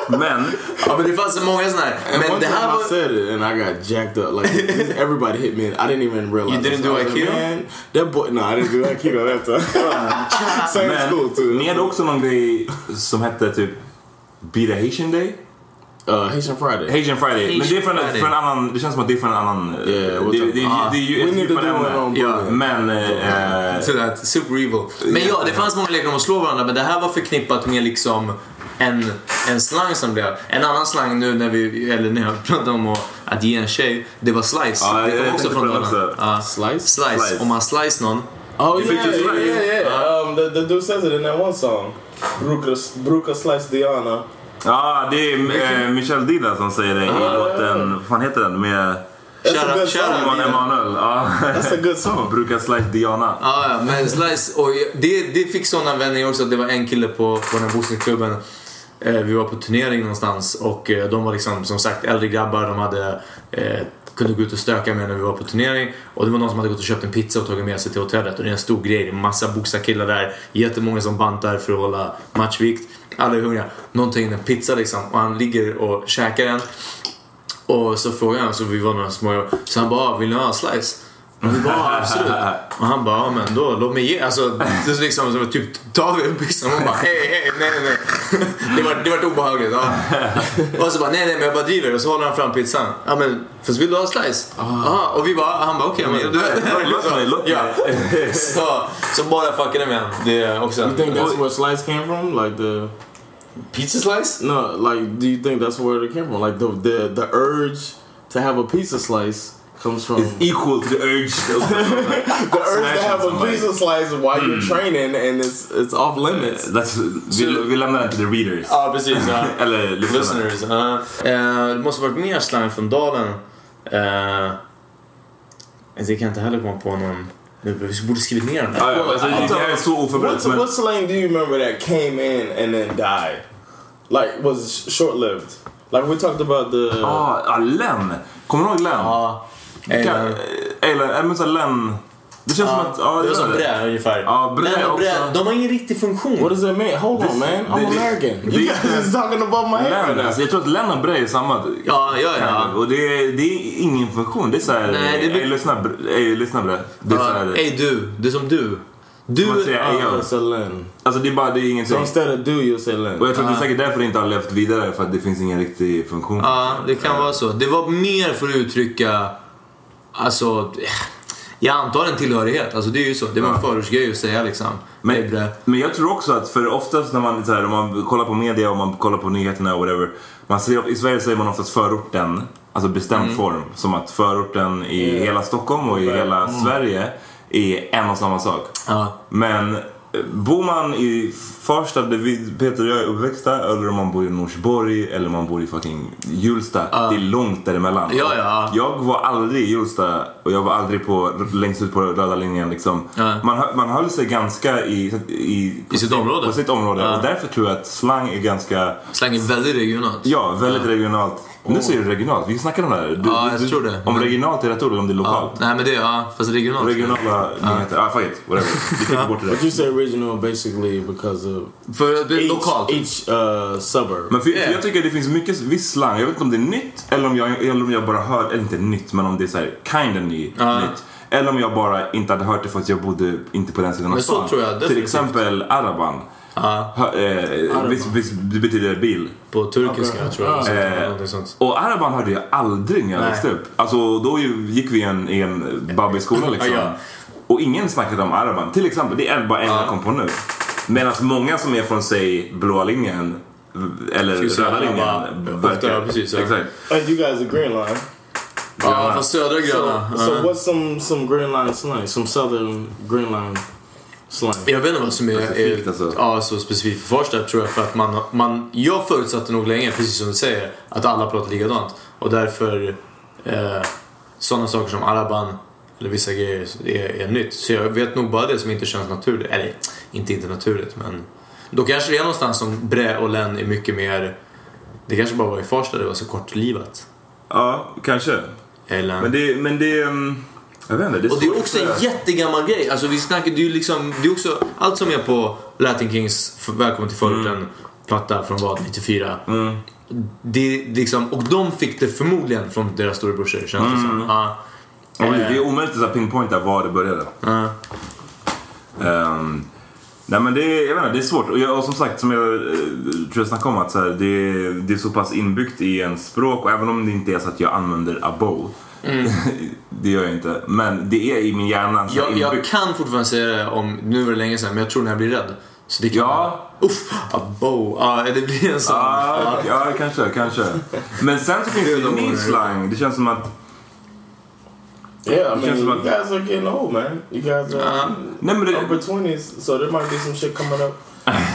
Men, Ja men det fanns så många såna här. And Men one det time här I var... said it and I got jacked up. Like everybody hit me and I didn't even realize. You didn't it. do I was like, Aikido? Man, that boy. No, I didn't do Aikido that time. Same school men too. ni hade också någon grej som hette typ Be the Haitian Day? uh, Haitian Friday. Haitian Friday. men det är från, Friday. för en annan, det känns som att det är från en annan... eh, Yeah, we'll det, talk- det, det, ah. det är ju We ett need to djupare do it ämne. on Ja, Bullying. men... eh, eh, Så där, super evil. Men ja, det fanns många lekar om att slå varandra men det här var förknippat med liksom en, en slang som blev. En annan slang nu när vi, eller när jag pratade om att, att ge en tjej, det var slice. Ja, det jag- jag kom också tänkte från på det någon också. annan. Ja. Uh, Slice? Slice. Slice. om man slice någon. Oh You yeah, think it's yeah, right? yeah, yeah. um, the, the dude says it in that one song. Bruca, Bruca Slice Diana. Ah, Ja, det är eh, Michel Dida som säger det i låten, vad fan heter den? Med... That's a Shout out- good shout out song. Simon Emanuel. Ja. That's a good song. Brukar slice Diana. Ja, ja, men Slice, och jag- det, det fick sådana vändningar också. Det var en kille på, på den här bostadsklubben. Eh, vi var på turnering någonstans och eh, de var liksom som sagt äldre grabbar. De hade, eh, kunde gå ut och stöka med när vi var på turnering. Och det var någon som hade gått och köpt en pizza och tagit med sig till hotellet. Och det är en stor grej. Det är massa boxarkillar där. Jättemånga som bantar för att hålla matchvikt. Alla är hungriga. Någon tar in en pizza liksom och han ligger och käkar den. Och så frågade han, så vi var några små Så han bara, "Ah, vill ni ha en slice? Och vi bara, "Ja, absolut. Och han bara, "Ja, men då låt mig ge. Alltså, det är liksom som att typ ta av er byxan och bara, hej, hej, nej, nej, nej. Det var, det var obehagligt. Ja. Och så bara, nej, nej, men jag bara driver. Och så håller han fram pizzan. Ja, men fast vill du ha en slice? Aha. Och vi bara, han bara, okej. men du vet." Ah. Låt mig, låt mig. liksom- Ja. Så, så bara fuckade med honom. Det är också You think that's where slice came from? Like the Pizza slice? no, like do you think that's where it came from? Like the the, the urge to have a pizza slice comes from It's e- equal to the urge. the urge to smashing have a somebody. pizza slice while you're Mm. training and it's it's off limits. That's, vi, vi lämnar den till the readers. Ja, precis. Ja. Eller liksom lyssnarna. Listeners. ja. Eh, det måste varit mer slang från Dalen. Uh, det kan jag inte heller komma på någon. Nu, Vi borde skrivit ner den här. Ja, ja, alltså, det här är så What, oförberett. men- what slang do you remember that came in and then died? Like was short lived. Like we talked about the Ja, ah, Len. Kommer du ihåg Len? Ja. Kan- Eller- eh, Len. Ja, men så Len. Det känns som att... ja, Ah, det var som gör brä ungefär. Ja, brä Men också. de har ingen riktig funktion. What does that mean? Hold on, man. I'm this- American. this- You guys is talking above my head right Len. now. Alltså, jag tror att Len och Brej är samma. Ja, ja, ja. Och det är, det är ingen funktion. Det är såhär... Nej, det blir- Ey, lyssna, Br- ey, lyssna Brej. Det är Ja, såhär... Ey du, det är som du. Man Du... säger, ey, Oh, yo. it's a Len. Alltså det är bara, det är So ingenting. instead of do, you'll say Len. Och jag Ah. tror att det är säkert därför det inte har levt vidare. För att det finns ingen riktig funktion. Ja, det kan vara så. Det var mer för att uttrycka... Alltså... Jag antar en tillhörighet. Alltså det är ju så. Det var en Ja. förortsgrej att säga liksom. Ey, Men, brä. men jag tror också att för oftast när man, så här, om man kollar på media och man kollar på nyheterna och whatever. Man ser, I Sverige säger man oftast förorten, alltså bestämd Mm. form. Som att förorten i Eh, hela Stockholm och i hela Sverige är en och samma sak. mm. Ja. Men eh, bor man i Farsta, där vi, Peter och jag är uppväxta, eller om man bor i Norsborg eller om man bor i fucking Hjulsta. Det är långt däremellan. Ja, ja. Jag var aldrig i Hjulsta och jag var aldrig på, längst ut på röda linjen. Liksom. Ja. Man, hö- man höll sig ganska i, i, på sitt område. På sitt område. Ja. Och därför tror jag att slang är ganska, Slang är väldigt regionalt. ja, väldigt regionalt. Nu säger du regionalt, vi snackade om det här. Du, Ja, jag du- tror det. Om Men- regionalt är rätt ord eller om det är lokalt. Nej men det, ja. Fast regionalt. Regionala nyheter, ah, fuck it, whatever. Vi klipper bort det där. But you say original basically because of För det är each, lokalt. each uh, suburb. Men för, Yeah. för jag tycker det finns mycket viss slang. Jag vet inte om det är nytt eller om jag, eller om jag bara hör, eller inte nytt, men om det är så här kind of ny, nytt. Eller om jag bara inte hade hört det för att jag bodde inte på den sidan av Men så tror jag Till definitivt. exempel araban. Hö, eh, visst, visst, det betyder bil. På turkiska tror jag. Ja. eller någonting sånt. Eh, Och araban hörde jag aldrig när jag Nej. växte upp. Alltså då ju, gick vi i en, i en babbyskola liksom. Ja, ja. Och ingen snackade om araban. Till exempel, det är bara en jag kom på nu. Medan många som är från, säg, blåa linjen eller Skulle säga röda linjen. Araba. verkar- Ofta, ja, precis, ja. Exakt. Hey, you guys are green line. Ja, fast södra gröna. So, ja. so what's some some green line slang? Some southern green line slang. Jag vet inte vad som är, Specifikt, är alltså. ja, så specifikt för Farsta tror jag för att man, man, jag förutsatte nog länge, precis som du säger, att alla pratar likadant. Och därför eh, sådana saker som araban eller vissa grejer är, är nytt. Så jag vet nog bara det som inte känns naturligt. Eller inte inte naturligt men då kanske det är någonstans som brä och län är mycket mer, det kanske bara var i Farsta det var så kortlivat. Ja, kanske. Eller, Men det, men det... mm, Jag vet inte. Det är Och det svårt är också att en säga. jättegammal grej. Alltså vi snackar, det är ju liksom, det är också, allt som är på Latin Kings för- Välkommen till förorten Mm. platta från vad, 94. Det, är liksom, och de fick det förmodligen från deras storebrorsor känns det som. Ja. Ja, precis. Mm. Det är omöjligt att så här pinpointa var det började. Eh. Ja. Ehm, nej men det är, jag vet inte, det är svårt. Och, jag, och som sagt, som jag eh, tror jag snackade om, att så här, det, är- det är så pass inbyggt i ens språk. Och även om det inte är så att jag använder abo. det gör jag inte. Men det är i min hjärna så jag, jag inbyggt. kan fortfarande säga det om, nu var det länge sedan, men jag tror när jag blir rädd. Så det kan Ja. Uff, abo, ja det blir en sån. Ah, ja, kanske, kanske. Men sen så finns det ju en ny slang. Det känns som att Yeah, I mean, Just you about- guys are getting old, man. You guys are Nej, men det- upper twenties, so there might be some shit coming up.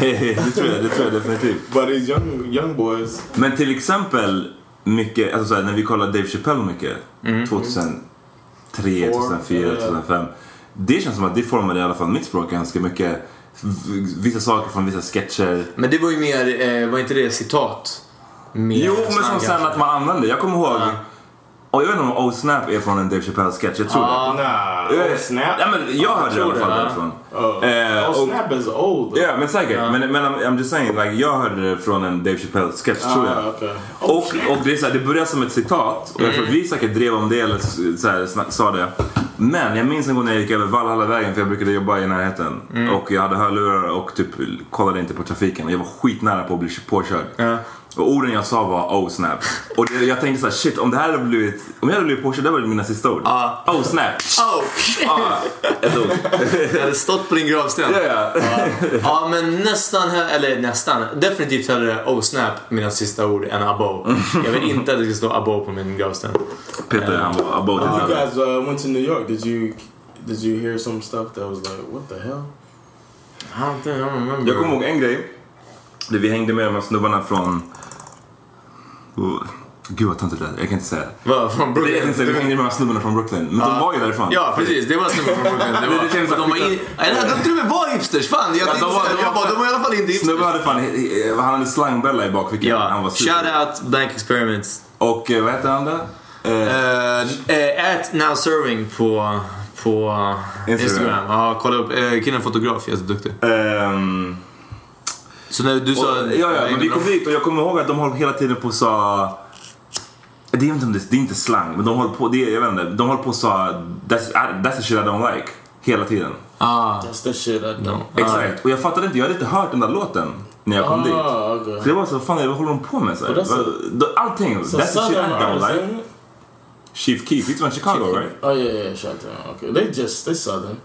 det, tror jag, det tror jag definitivt. But these young young boys, Men till exempel mycket, alltså såhär, när vi kollade Dave Chappelle mycket, 2003, 2004, 2005. Det känns som att det formade i alla fall mitt språk ganska mycket. V- Vissa saker från vissa sketcher. Men det var ju mer, eh, var inte det citat? Mer Jo, men slang, som sen kanske. att man använde. Jag kommer ihåg, och jag vet inte om Oh Snap är från en Dave Chappelle-sketch, jag tror det. Nah, Eh, oh snap. Ja, men jag hörde det i alla tror fall det, därifrån. Oh, oh Eh, och- snap is old. Ja, men säkert. Men, men I'm, I'm just saying, like, jag hörde det från en Dave Chappelle-sketch tror jag. Ah, okej. Och, och det, är så här, det började som ett citat och jag tror att vi säkert drev om det eller så här, sna- sa det. Men jag minns en gång när jag gick över Valhallavägen för jag brukade jobba i närheten och jag hade hörlurar och typ kollade inte på trafiken och jag var skitnära på att bli påkörd. Och orden jag sa var oh snap. Och det, jag tänkte så här, shit om det här hade blivit, om jag hade blivit påkörd det var mina sista ord. Oh snap. Oh, Ah, ett ord. det hade stått på din gravsten. Ja, ja. Ja, men nästan, he- eller nästan, definitivt hellre Oh Snap, mina sista ord, än Abo. Jag vill inte att det ska stå Abo på min gravsten. Peter han var about it. You guys uh, went to New York. Did you did you hear some stuff that was like, what the hell? I don't think I remember. Jag kommer ihåg en grej. Där vi hängde med de här snubbarna från... Oh, gud vad töntigt det lät. Jag kan inte säga det. Vad, från Det- Jag kan Brooklyn? inte säga, vi hängde med de här snubbarna från Brooklyn. Men de var ju därifrån. Ja, precis. Det var snubben från Brooklyn. Det Det känns var. som De, var in, Nej, de till och med var hipsters. Fan, jag Ja, de tänkte var- säga de det. Jag var- bara, de var i alla fall inte hipsters. Snubben hade fan, eh, han hade slangbella i bakfickan. Han var Ja, super. shout out Blank Experiments. Och eh, vad heter han där? Eh, Eh, eh, At Now Serving på, på eh, Instagram. Instagram. Ja, kolla upp. Eh, killen fotograf, jätteduktig. ehm, Så när du sa... och, ja, ja, men vi kom de- dit och jag kommer ihåg att de höll hela tiden på och sa... Det är inte, om det, det är inte slang, men de höll på, det, är- jag vet inte, de höll på och sa that's, that's the shit I don't like. Hela tiden. Ah, That's the shit I know. Exakt. Och jag fattade inte, jag hade inte hört den där låten när jag kom dit. Ah, okay. Så det var så, fan vad håller de på med? Så här? Och that's a- Vad- Allting. So that's the shit I Southern don't artists, like. ain't it? Chief Keef, he's from Chicago right? Oh yeah, yeah, yeah, shut down. Okay, they just they Southern.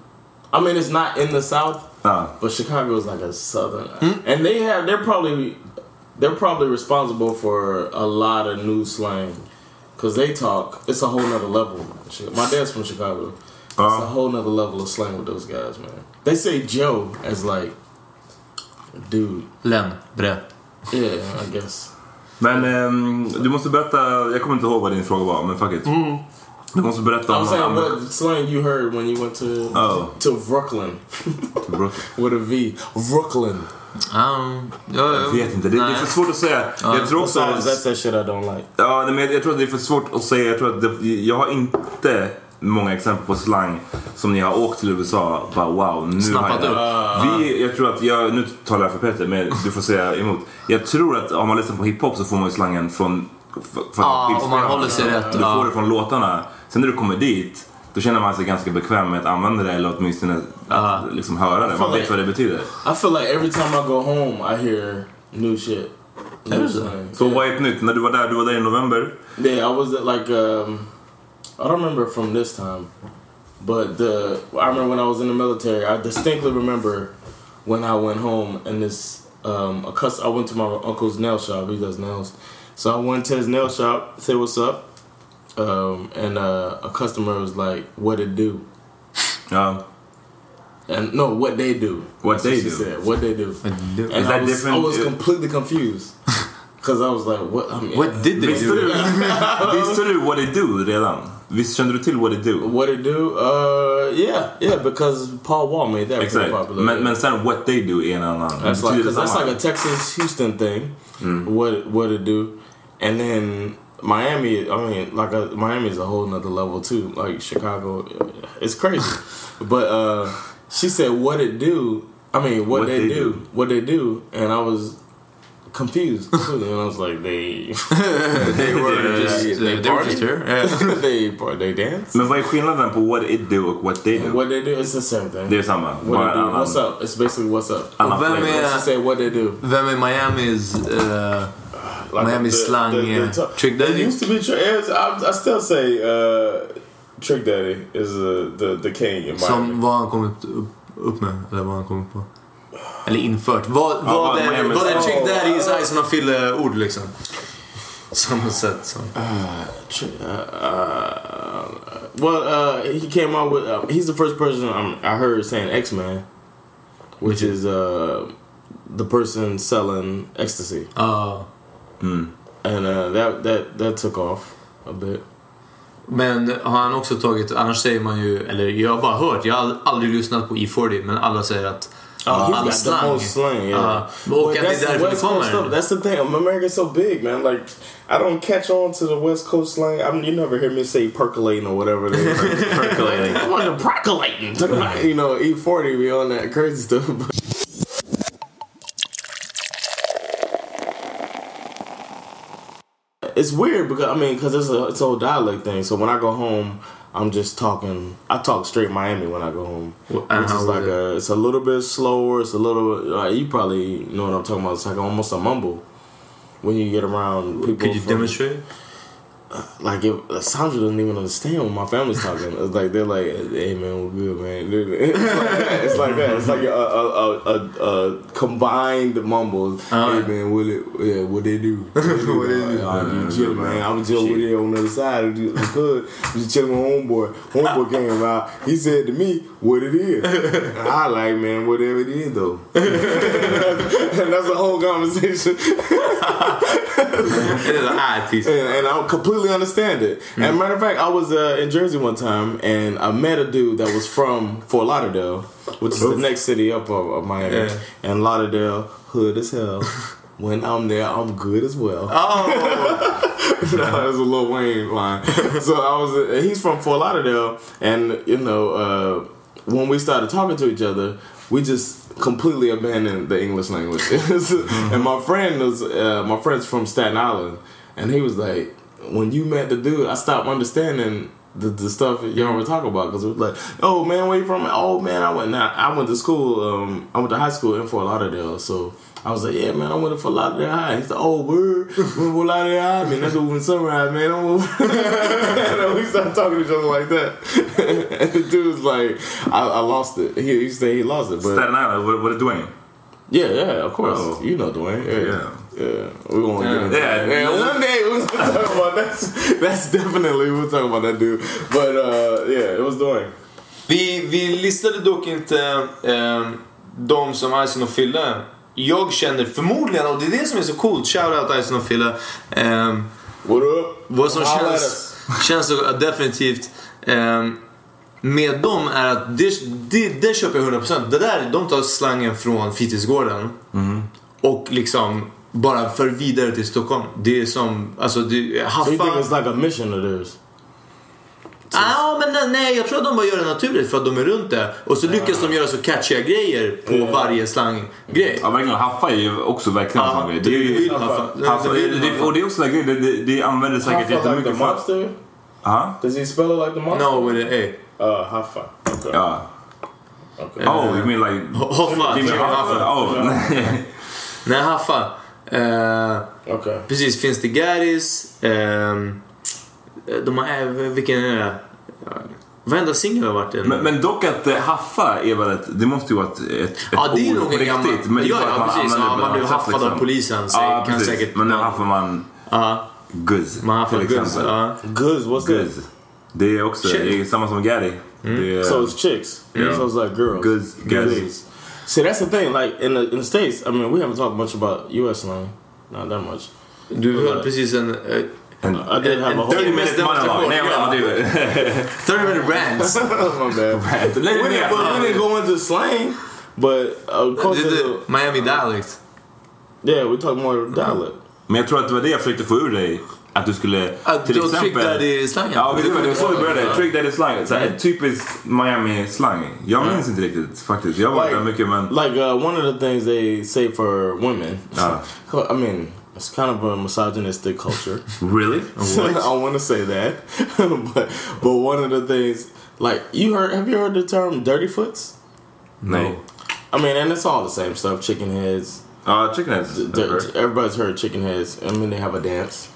I mean, it's not in the South, Ah. but Chicago is like a Southern, and they have they're probably they're probably responsible for a lot of new slang because they talk. It's a whole nother level. Shit, My dad's from Chicago. It's a whole nother level of slang with those guys, man. They say Joe as like, dude. Len. Bre. Yeah, I guess. Men ehm, du måste berätta, jag kommer inte ihåg vad din fråga var men fuck it. Du måste berätta I'm om... saying om- what slang you heard when you went to Uh-huh. Oh. to Brooklyn Brooklyn. with a V. Brooklyn. Um, ja, Jag vet inte, det, det är för svårt att säga. Jag tror också... Besides, that's that shit I don't like. Ja, nej, men jag, jag tror att det är för svårt att säga. Jag, tror att det, jag har inte många exempel på slang som när jag har åkt till USA bara wow, nu Snappat har jag det. Vi, jag tror att, jag, nu talar jag för Peter men du får säga emot. Jag tror att om man lyssnar på hiphop så får man ju slangen från... från Ja, om man skivspelarna. håller sig rätt, Du ja. får det från låtarna. Sen när du kommer dit då känner man sig ganska bekväm med att använda det eller åtminstone att liksom höra det. Man Fan, vet vad det betyder. I feel like every time I go home, I hear new shit. New is it? slang. Så vad är ett nytt? När du var där, du var där i november. Yeah, I was at like um, I don't remember from this time, but the I remember when I was in the military. I distinctly remember when I went home and this um, a cus I went to my uncle's nail shop. He does nails, so I went to his nail shop, say what's up, um, and uh, a customer was like, "What it do?" Ja. And no, what they do. What That's they she do. Said, what they do. do. And Is that I was, different? I was completely confused because I was like, "What?" I mean, What did they Visste do? du, visste du what it do redan? Visst kände du till what it do? What it do? Uh, yeah, yeah. Because Paul Wall made that pretty Exakt. popular. Men, men sen what they do är en annan. that's like Betyder because that's samma. like a Texas Houston thing. Mm. What what it do? And then Miami. I mean, like a, Miami is a whole nother level too. Like Chicago, it's crazy. but uh, she said, "What it do?" I mean, what, What they, they do, do. What they do? And I was confused, completely. and I was like, "They, They were just, they, they were just here. party? they par- they dance." Men vad är skillnaden på what it do och what they do? What they do? It's the same thing. det är samma. What Bara they do? annan- What's up? It's basically what's up. annan Vem flavor. är- She said what they do. Vem är Miamis... eh, Like Miami the- slang, eh, the- yeah. the top- Trick Daddy? It used to be trick. it's- I, I still say uh, Trick Daddy is uh, the the king in Miami. som vad han kommit upp, upp med, eller vad han kommit på. Eller infört. Vad, vad, vad är, Miami vad är Sound. Chick Daddy is I som fyller ord liksom? Samma sätt som... Tri- uh, uh, well, uh, he came out with. Uh, he's the first person i I heard saying X Man, which is uh, the person selling ecstasy. Ja. and uh, that that that took off a bit. Men har han också tagit, annars säger man ju, eller jag har bara hört, jag har ald- aldrig lyssnat på E40 men alla säger att Oh, all he's got the slang. most slang, yeah. Uh, But och att det är that's the därför det West Coast kommer. stuff. That's the thing. America's so big, man. Like, I don't catch on to the West Coast slang. I mean, you never hear me say percolating or whatever. They percolating. I want to percolating. Talking about, you know, E40, we on that crazy stuff. it's weird because I mean, because it's a it's a whole dialect thing. So when I go home, I'm just talking. I talk straight Miami when I go home, and which how is is like it? a it's a little bit slower. It's a little uh, you probably know what I'm talking about. It's like almost a mumble when you get around people. Could you from- demonstrate? Like if Sandra doesn't even understand what my family's talking. It's like they're like, "Hey man, we're good, man." It's like that. It's like, that. It's like a, a, a, a, a combined mumble. hey man, what it? Yeah, what they do? Uh-huh. What they do? All right, you chill, man. I was just over there on the other side. It was good. I was chilling with homeboy. Homeboy came out. He said to me, "What it is?" And I like, man, whatever it is though. and that's the whole conversation. Eller det här till. and, and I completely understand it. And matter of fact, I was uh, in Jersey one time, and I met a dude that was from Fort Lauderdale, which is the next city up of, of Miami. Yeah. And Lauderdale, hood as hell. when I'm there, I'm good as well. no, that's a Lil Wayne line. so I was. He's from Fort Lauderdale, and you know, uh, when we started talking to each other, we just completely abandoned the English language. and my friend was, uh, my friend's from Staten Island, and he was like, when you met the dude, I stopped understanding. The, the stuff that y'all were talking about because it was like, oh man, where you from? Oh man, I went now. I went to school. Um, I went to high school in Fort Lauderdale, so I was like, yeah, man, I went to Fort Lauderdale High. He's like, oh, word, went to Fort Lauderdale High, man, that's over in Sunrise, man. I'm over. and we started talking to each other like that. and the dude's like, I, I lost it. He, he said he lost it, but Staten Island, what, what is Dwayne? yeah, yeah, of course, Oh. you know Dwayne, yeah. yeah. we're gonna get into Yeah. that. Man, Yeah. one day we're gonna talk about that. That's definitely we're talking about that dude. But uh, yeah, it was Dwayne. Vi, vi listade dock inte ehm, de som Ison och Fille. Jag känner förmodligen, och det är det som är så coolt, shoutout Ison och Fille. ehm, What up? Vad som Holla at känns, us. känns så eh, definitivt ehm, med dem är att det, det, det köper jag 100%. Det där, de tar slangen från fritidsgården Mm. och liksom bara för vidare till Stockholm. Det är som, alltså det, So you think haffa. it's like a mission of theirs? Ja, men nej, nej, jag tror att de bara gör det naturligt för att de är runt det. Och så lyckas de göra så catchiga grejer på varje slanggrej. Eh. Ja, verkligen. Haffa är ju också verkligen en Ja, sån grej. Det är ju... haffa. Haffa, det, det, och det är också en grej, det, det, det användes säkert Haffa like the jättemycket för... monster? Huh? Does he spell it like the monster? No, with an A. Uh, Haffa. Okay. Ja. Okay. Oh, you mean like... Hoffa, Jimmy Jimmy Hoffa. Hoffa? Oh, nej. Nej, Haffa. Eh, Okay. Precis, finns det Garris. ehm, de har även, vilken är det? Ja, Varenda singel har varit en... Men, men dock att eh, haffa är väl ett, det måste ju vara ett, ett, ett ja, det är ord nog på en gammal... riktigt. Men det är ja, bara att ja, precis. använder det Ja, på man blev något sätt, liksom. haffad av polisen. Så Ja, kan precis. säkert... Men nu haffar man Ja, guzz. man haffar till guns. exempel. Ja. Goods, what's good? Guzz. Det är också, Shit. Mm. det är samma som Gary. Det är, So it's chicks. So it's like girls. Goods, guys. Goods. See, that's the thing. Like in the in the states, I mean, we haven't talked much about U.S. slang. Not that much. Du höll precis en... eh, I did have a whole. 30 minute monolog. Nej, Ja. men det är 30 minute rants. My bad. Lägg we, ner. didn't, but we didn't go into slang, but uh, of course, Det- it's det- a- Miami dialect. yeah, we talk more dialect. Men jag tror att det var det jag försökte få ur dig. Att du skulle Att till du har exempel... Trick Daddy-slangen. Ja, men det var det var så vi Ja. Mm. började. Trick Daddy-slang. Så här, Ett typiskt Miami-slang. Jag minns inte riktigt faktiskt. Jag har varit Like- där mycket men... Like uh, one of the things they say for women. Ah. I mean, it's kind of a misogynistic culture. Really? I want to say that, but but one of the things like you heard have you heard the term dirty foots? Nej. I mean, and it's all the same stuff: chicken heads. Ja, Uh, chicken heads. Dir- everybody's heard chicken heads. I mean, they have a dance,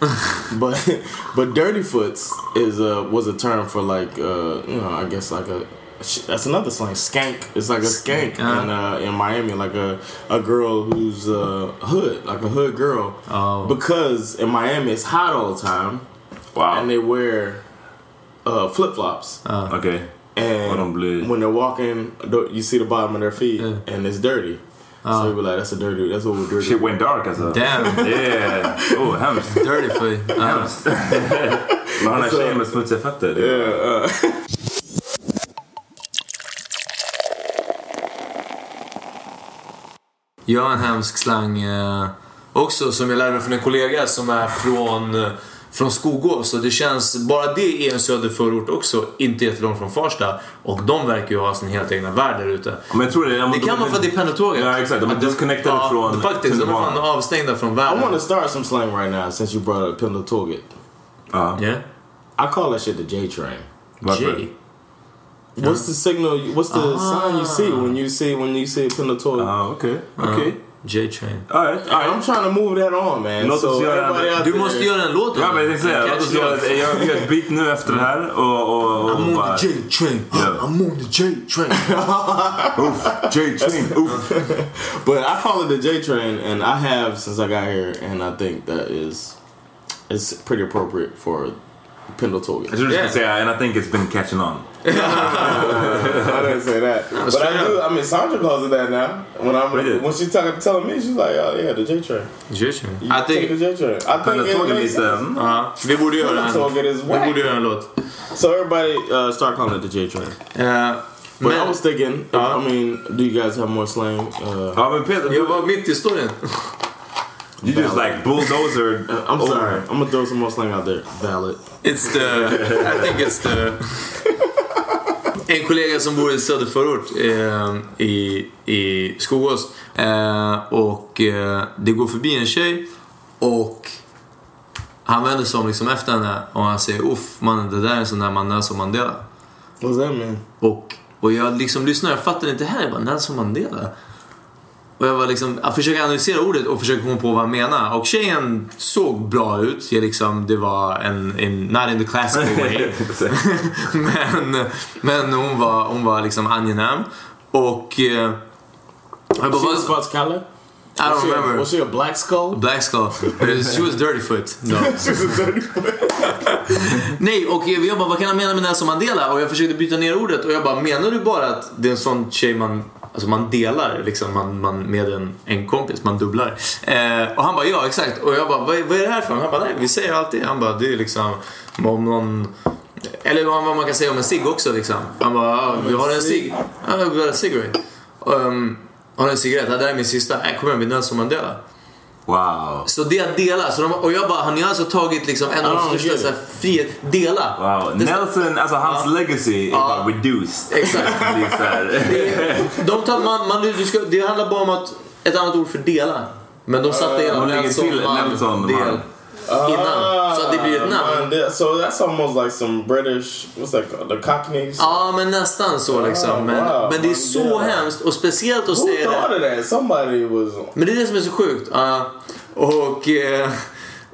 but but dirty foots is a was a term for like uh, you know I guess like a sh- that's another slang skank. It's like a skank in uh, in Miami, like a a girl who's uh, hood, like a hood girl, Oh. because in Miami it's hot all the time. and Wow. they wear uh, flip flops. Okej. and I don't believe- when they're walking, the- you see the bottom of their feet, and it's dirty. So we were like, that's a dirty, that's what we're dirty. Shit went dark alltså. Damn. Yeah. Oh, hemskt. Dirty foot. Ja. Hemskt. Men han är tjejer med smutsiga fötter. Det är- Jag har en hemsk slang eh, också som jag lärde mig från en kollega som är från, eh, från Skogås. Och det känns, bara det är en söderförort också, inte jättelångt från Farsta. Och de verkar ju ha sin helt egna värld där ute. Men jag tror det. Det kan vara för att det är pendeltåget. Ja, exakt. De är Att de- disconnected ja, från Faktiskt, de är tunnelbanan. fan avstängda från I världen. want to start some slang right now since you brought up Pendletorget. Yeah. I call that shit the J train. Varför? Gee. What's the signal? you- What's the sign you see when you see when you see Pendletorget? Ja, okej. Okej. J-Train. Alright. All right, I'm trying to move that on, man. Låt so oss göra everybody en- out Du there- måste göra en låt om Ja, men jag tänkte säga. Låt oss göra ett- jag gör ett beat nu efter det här och... och, och I'm bara- on the J-Train. Ja. I'm on the J-Train. Oof, J-Train. Oof. But I call it the J train, and I have since I got here, and I think that is it's pretty appropriate for Pendletorget. Jag trodde du skulle Yeah. säga and I think it's been catching on. I didn't say that. but straight I do. I mean, Sandra calls it that now. When I'm Really? when she's talking, telling me, she's like, "Oh yeah, the J train. J-Train. You I take the think... J train." I think it Pendeltåget makes lite... sense. mm. Ja, vi borde göra en. Pendeltåget is Vi whack. borde göra en låt. So everybody uh, start calling it the J train. Eh, But men- I was thinking. if- Uh-huh. I mean, do you guys have more slang? Uh, Ja, men Peter. Jag du- var mitt i storyn. You just like bulldozer. I'm over. sorry. I'm gonna throw some more slang out there. Valid. Oh. It's the... I think it's the... En kollega som bor i söderförort eh, i, i Skogås. Eh, och eh, det går förbi en tjej och han vänder sig om liksom efter henne och han säger uff mannen det där är en sån där man Nelson Mandela. What's that mean? Och, och jag liksom lyssnar, jag fattar inte här. Jag bara, Nelson Mandela? Och jag var liksom, jag försöker analysera ordet och försöker komma på vad han menar. Och tjejen såg bra ut. Jag liksom, det var en, en, not in the classical way. men, men hon var, hon var liksom angenäm. Och... Eh, jag bara, She was vad, about Skylar. I don't Was she a- remember. Was she a black skull? Black Skull. She was dirty foot. No. Nej, och jag bara, vad kan han mena med Nelson Mandela? Och jag försökte byta ner ordet och jag bara, menar du bara att det är en sån tjej man, alltså man delar liksom, man, man, med en, en kompis, man dubblar? Eh, och han bara, ja exakt. Och jag bara, vad, är- vad är det här för? Han bara, nej vi säger alltid. Han bara, det är liksom om någon eller vad vad man kan säga om en cigg också liksom. Han bara, ja, vi har en cigg. Ja, vi har en cigarette. Um, har du en cigarett? Ja, det här är min sista. Nej, kom igen, vi är Nelson Mandela. Wow. Så det delar. Så de, och jag bara, han har alltså tagit liksom en av Ah, de största okej. så här, frihet... Dela! Wow. Det- Nelson, alltså hans legacy är bara reduced. Exakt. Det är så här. De tar, man, man, du ska, det handlar bara om att, ett annat ord för dela. Men de satte hela de lägger till man, Nelson, del man. Ah, innan. Så att det blir ett namn. Mandela. Uh, So that's almost like some British, what's that called? The Cockneys? Ja, men nästan så Ah, liksom. Men, wow, men det är så Mandela. hemskt och speciellt att Who säga det. thought of that? Somebody was. Men det är det som är så sjukt. Ja. och, eh,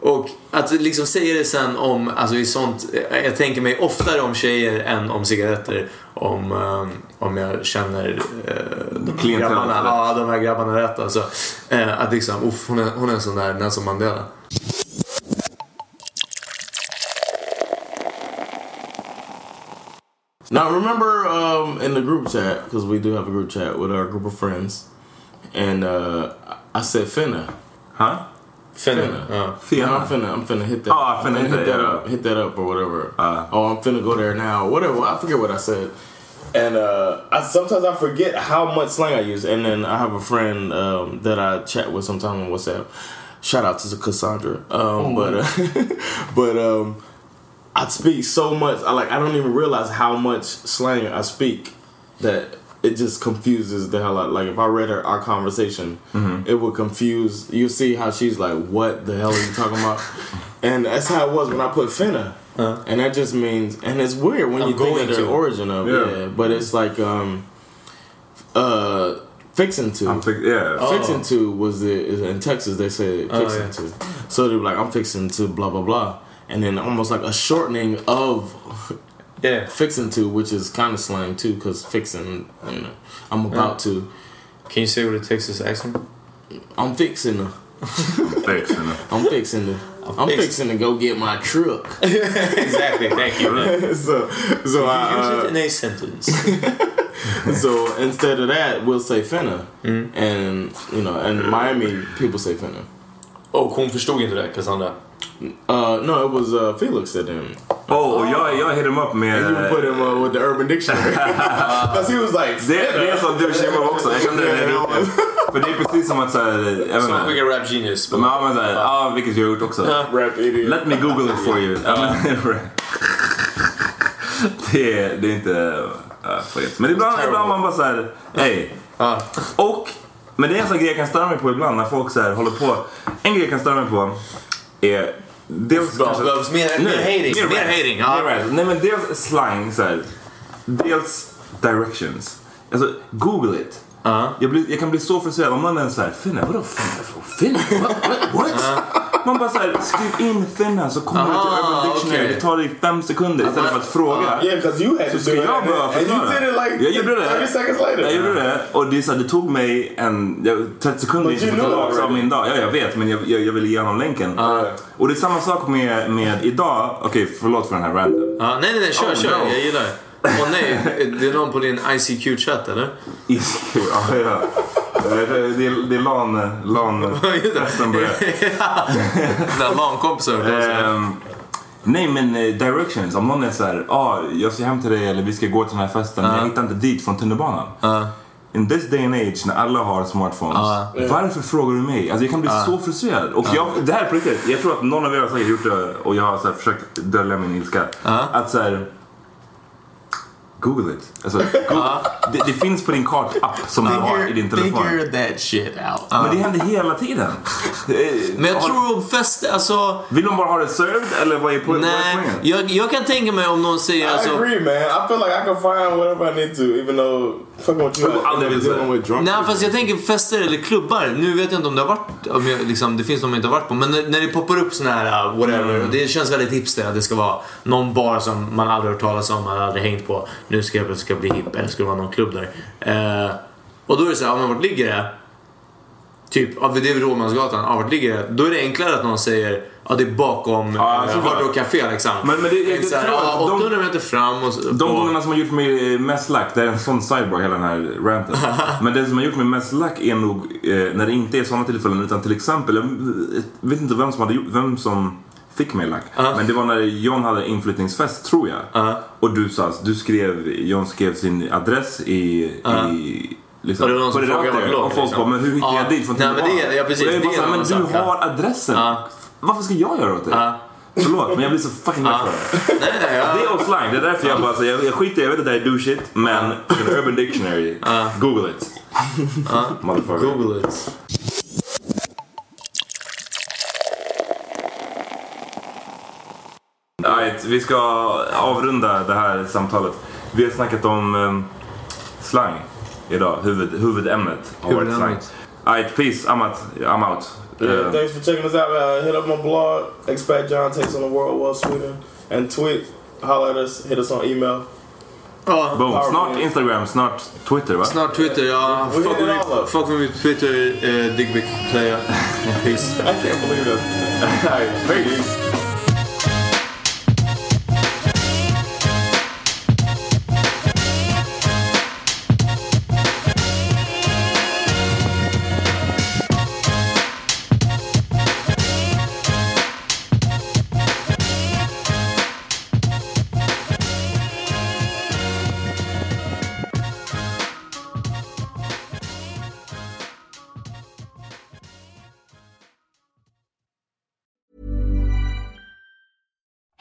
och att liksom säga det sen om, alltså i sånt, eh, jag tänker mig oftare om tjejer än om cigaretter. Om, eh, om jag känner eh, de, här Klientelet grabbarna, rätt. ja, de här grabbarna rätt alltså. Eh, att liksom, uff, hon är, hon är en sån där Nelson Mandela. Now remember um, in the group chat because we do have a group chat with our group of friends, and uh, I said finna. Huh? Finna. uh, uh-huh. Ja. Yeah, I'm finna. I'm finna hit that. Oh, finna hit hit that, that uh, yeah. up. Hit that up or whatever. oh, I'm finna go there now. Whatever. I forget what I said. And uh, I, sometimes I forget how much slang I use. And then I have a friend um, that I chat with sometime on WhatsApp. Shout out to Cassandra. Um, Oh, but uh, but um, I speak so much. I like I don't even realize how much slang I speak that it just confuses the hell out. Like if I read her, our conversation, Mm-hmm. it would confuse. You see how she's like, "What the hell are you talking about?" and that's how it was when I put finna, and that just means. And it's weird when Uh-huh. I'm you think going of the to. origin of Yeah. yeah. but it's like um, uh, fixing to. I'm fix- yeah. Fixing to Oh, was the, is in Texas they said fixing yeah. to, so they were like I'm fixing to blah blah blah, and then almost like a shortening of Yeah. fixing to, which is kind of slang too, because fixing, you know, I'm about to, Can you say with a Texas accent? I'm fixing to, Fixing. I'm fixing to, I'm fix- fixing to go get my truck. exactly, thank you. so, so I, uh, Use it in a sentence. so instead of that, we'll say finna. Mm-hmm. And, you know, and Miami people say finna. Och hon Oh, förstod inte det, Cassandra. Uh, no, it was uh, Felix that didn't. Oh, och jag, jag hit him up med... And you put him uh, with the Urban Dictionary. Because he was like, Det, det är en sån douche humor också. Jag kan det. För det är precis som att såhär... Jag Som menar... skickar Rap Genius. Men ja, men såhär, ja vilket jag har gjort också. rap idiot. Let me google it for you. Ja, men- det, är- det är inte... ja, skit. Men ibland, ibland man bara såhär, hej. Och, men det är en sån grej jag kan störa mig på ibland när folk såhär håller på. En grej jag kan störa mig på är... Dels kanske- Behövs mer, mer hating. Mer, rap. hating. Mer Ja. rap. Nej men dels slang så här. Dels directions. Alltså google it. Jag, blir, jag kan bli så frustrerad om någon är såhär, finna vadå finna? Finna? What? what, what? Man bara såhär, skriv in finna så kommer det till Ah, Urban Dictionary. okej. Det tar dig fem sekunder istället för att fråga. Yeah, because you had to Så do it. jag behöver And Alltså, you förklara. did it like Jag gjorde det. 30 seconds later. Jag gjorde det och det, är så här, det tog mig en, jag, 30 sekunder liksom But you innan jag knew tog av already. min dag. Ja, jag vet men jag, jag, jag ville ge honom länken. Och det är samma sak med, med idag. Okej, förlåt för den här random. Ja, Uh, nej, nej, nej. Kör, Oh, kör. no. Jag gillar det. Åh nej, det är någon på din ICQ-chatt eller? ICQ, ja, ja. Det är, det är LAN... LAN... Just det. festen börjar. Där Eh, LAN-kompisar. Ehm, Nej men eh, directions, om någon är såhär, ah, jag ska hem till dig eller vi ska gå till den här festen Ah. men jag hittar inte dit från tunnelbanan. In this day and age när alla har smartphones, Ah. varför frågar du mig? Alltså jag kan bli så frustrerad. Och jag, det här är på riktigt, jag tror att någon av er har säkert gjort det och jag har så här, försökt dölja min ilska. Ah. Att så här, Google it. Alltså, Google, Ah. det, det finns på din kartapp som du har i din telefon. that shit out. Men det händer hela tiden. Eh, Ah. Men jag har- tror fest, alltså... Vill de bara ha det served eller vad är po- vad är Nej, poängen? jag, jag kan tänka mig om någon säger I alltså... agree, man. I feel like I can find whatever I need to, even though fucking with you. Who I end other up is dealing that? with drunk. Nej, people. fast jag tänker fester eller klubbar. Nu vet jag inte om det har varit... Om jag, liksom, det finns de jag inte har varit på. Men när, när det poppar upp såna här uh, whatever. Mm. och Det känns väldigt hipster att det ska vara någon bar som man aldrig hört talas om, man aldrig hängt på. Nu ska jag ska bli hipp. Eller ska det vara någon klubb där. Eh, och då är det så här, ja, men vart ligger det? Typ, ja, det är vid Rådmansgatan. Ja, vart ligger det? Då är det enklare att någon säger Ja, det är bakom Ja, ja, såklart. Hard Rock Café liksom. Men- men det- jag- jag så här, tror att ja, de- 800 meter fram och... så- De och- gångerna som har gjort mig mest lack, det är en sån sidebar hela den här ranten. Men det som har gjort mig mest lack är nog eh, när det inte är såna tillfällen utan till exempel, jag vet inte vem som, hade, gjort- vem som fick mig lack. Men det var när John hade inflyttningsfest tror jag. Och du sa, du skrev, John skrev sin adress i, i liksom, Och det var någon på som frågade ratten. vart det låg, Och folk liksom. bara, men hur hittade Ja. jag dit från Nej, men det är- tunnelbanan?" ja, precis, Och jag det är bara, så här, en men annan du sak, ja. har adressen. Ja. Varför ska jag göra åt det? Ja. Förlåt, men jag blir så fucking lack för det. Nej, nej, ja. Det är och slang, det är därför jag bara säger, jag, jag skiter i- jag vet att det här är do shit, men fucking Urban Dictionary, google it. Motherfucker. Google it. Alright, vi ska avrunda det här samtalet. Vi har snackat om um, slang idag, Huvud, huvudämnet har varit slang. Huvudämnet. Alright, peace, I'm out. I'm out. Yeah, Eh, thanks for checking us out. Uh, hit up my blog, Expat John Takes on the World, Well Sweden, and tweet. Holler at us, hit us on email. boom. Snart Instagram, snart Twitter va? Snart Twitter, ja. We're Fuck hitting med, all of it. fuck med mitt Twitter, eh, Digbic player. Peace. I can't believe that. Alright, peace.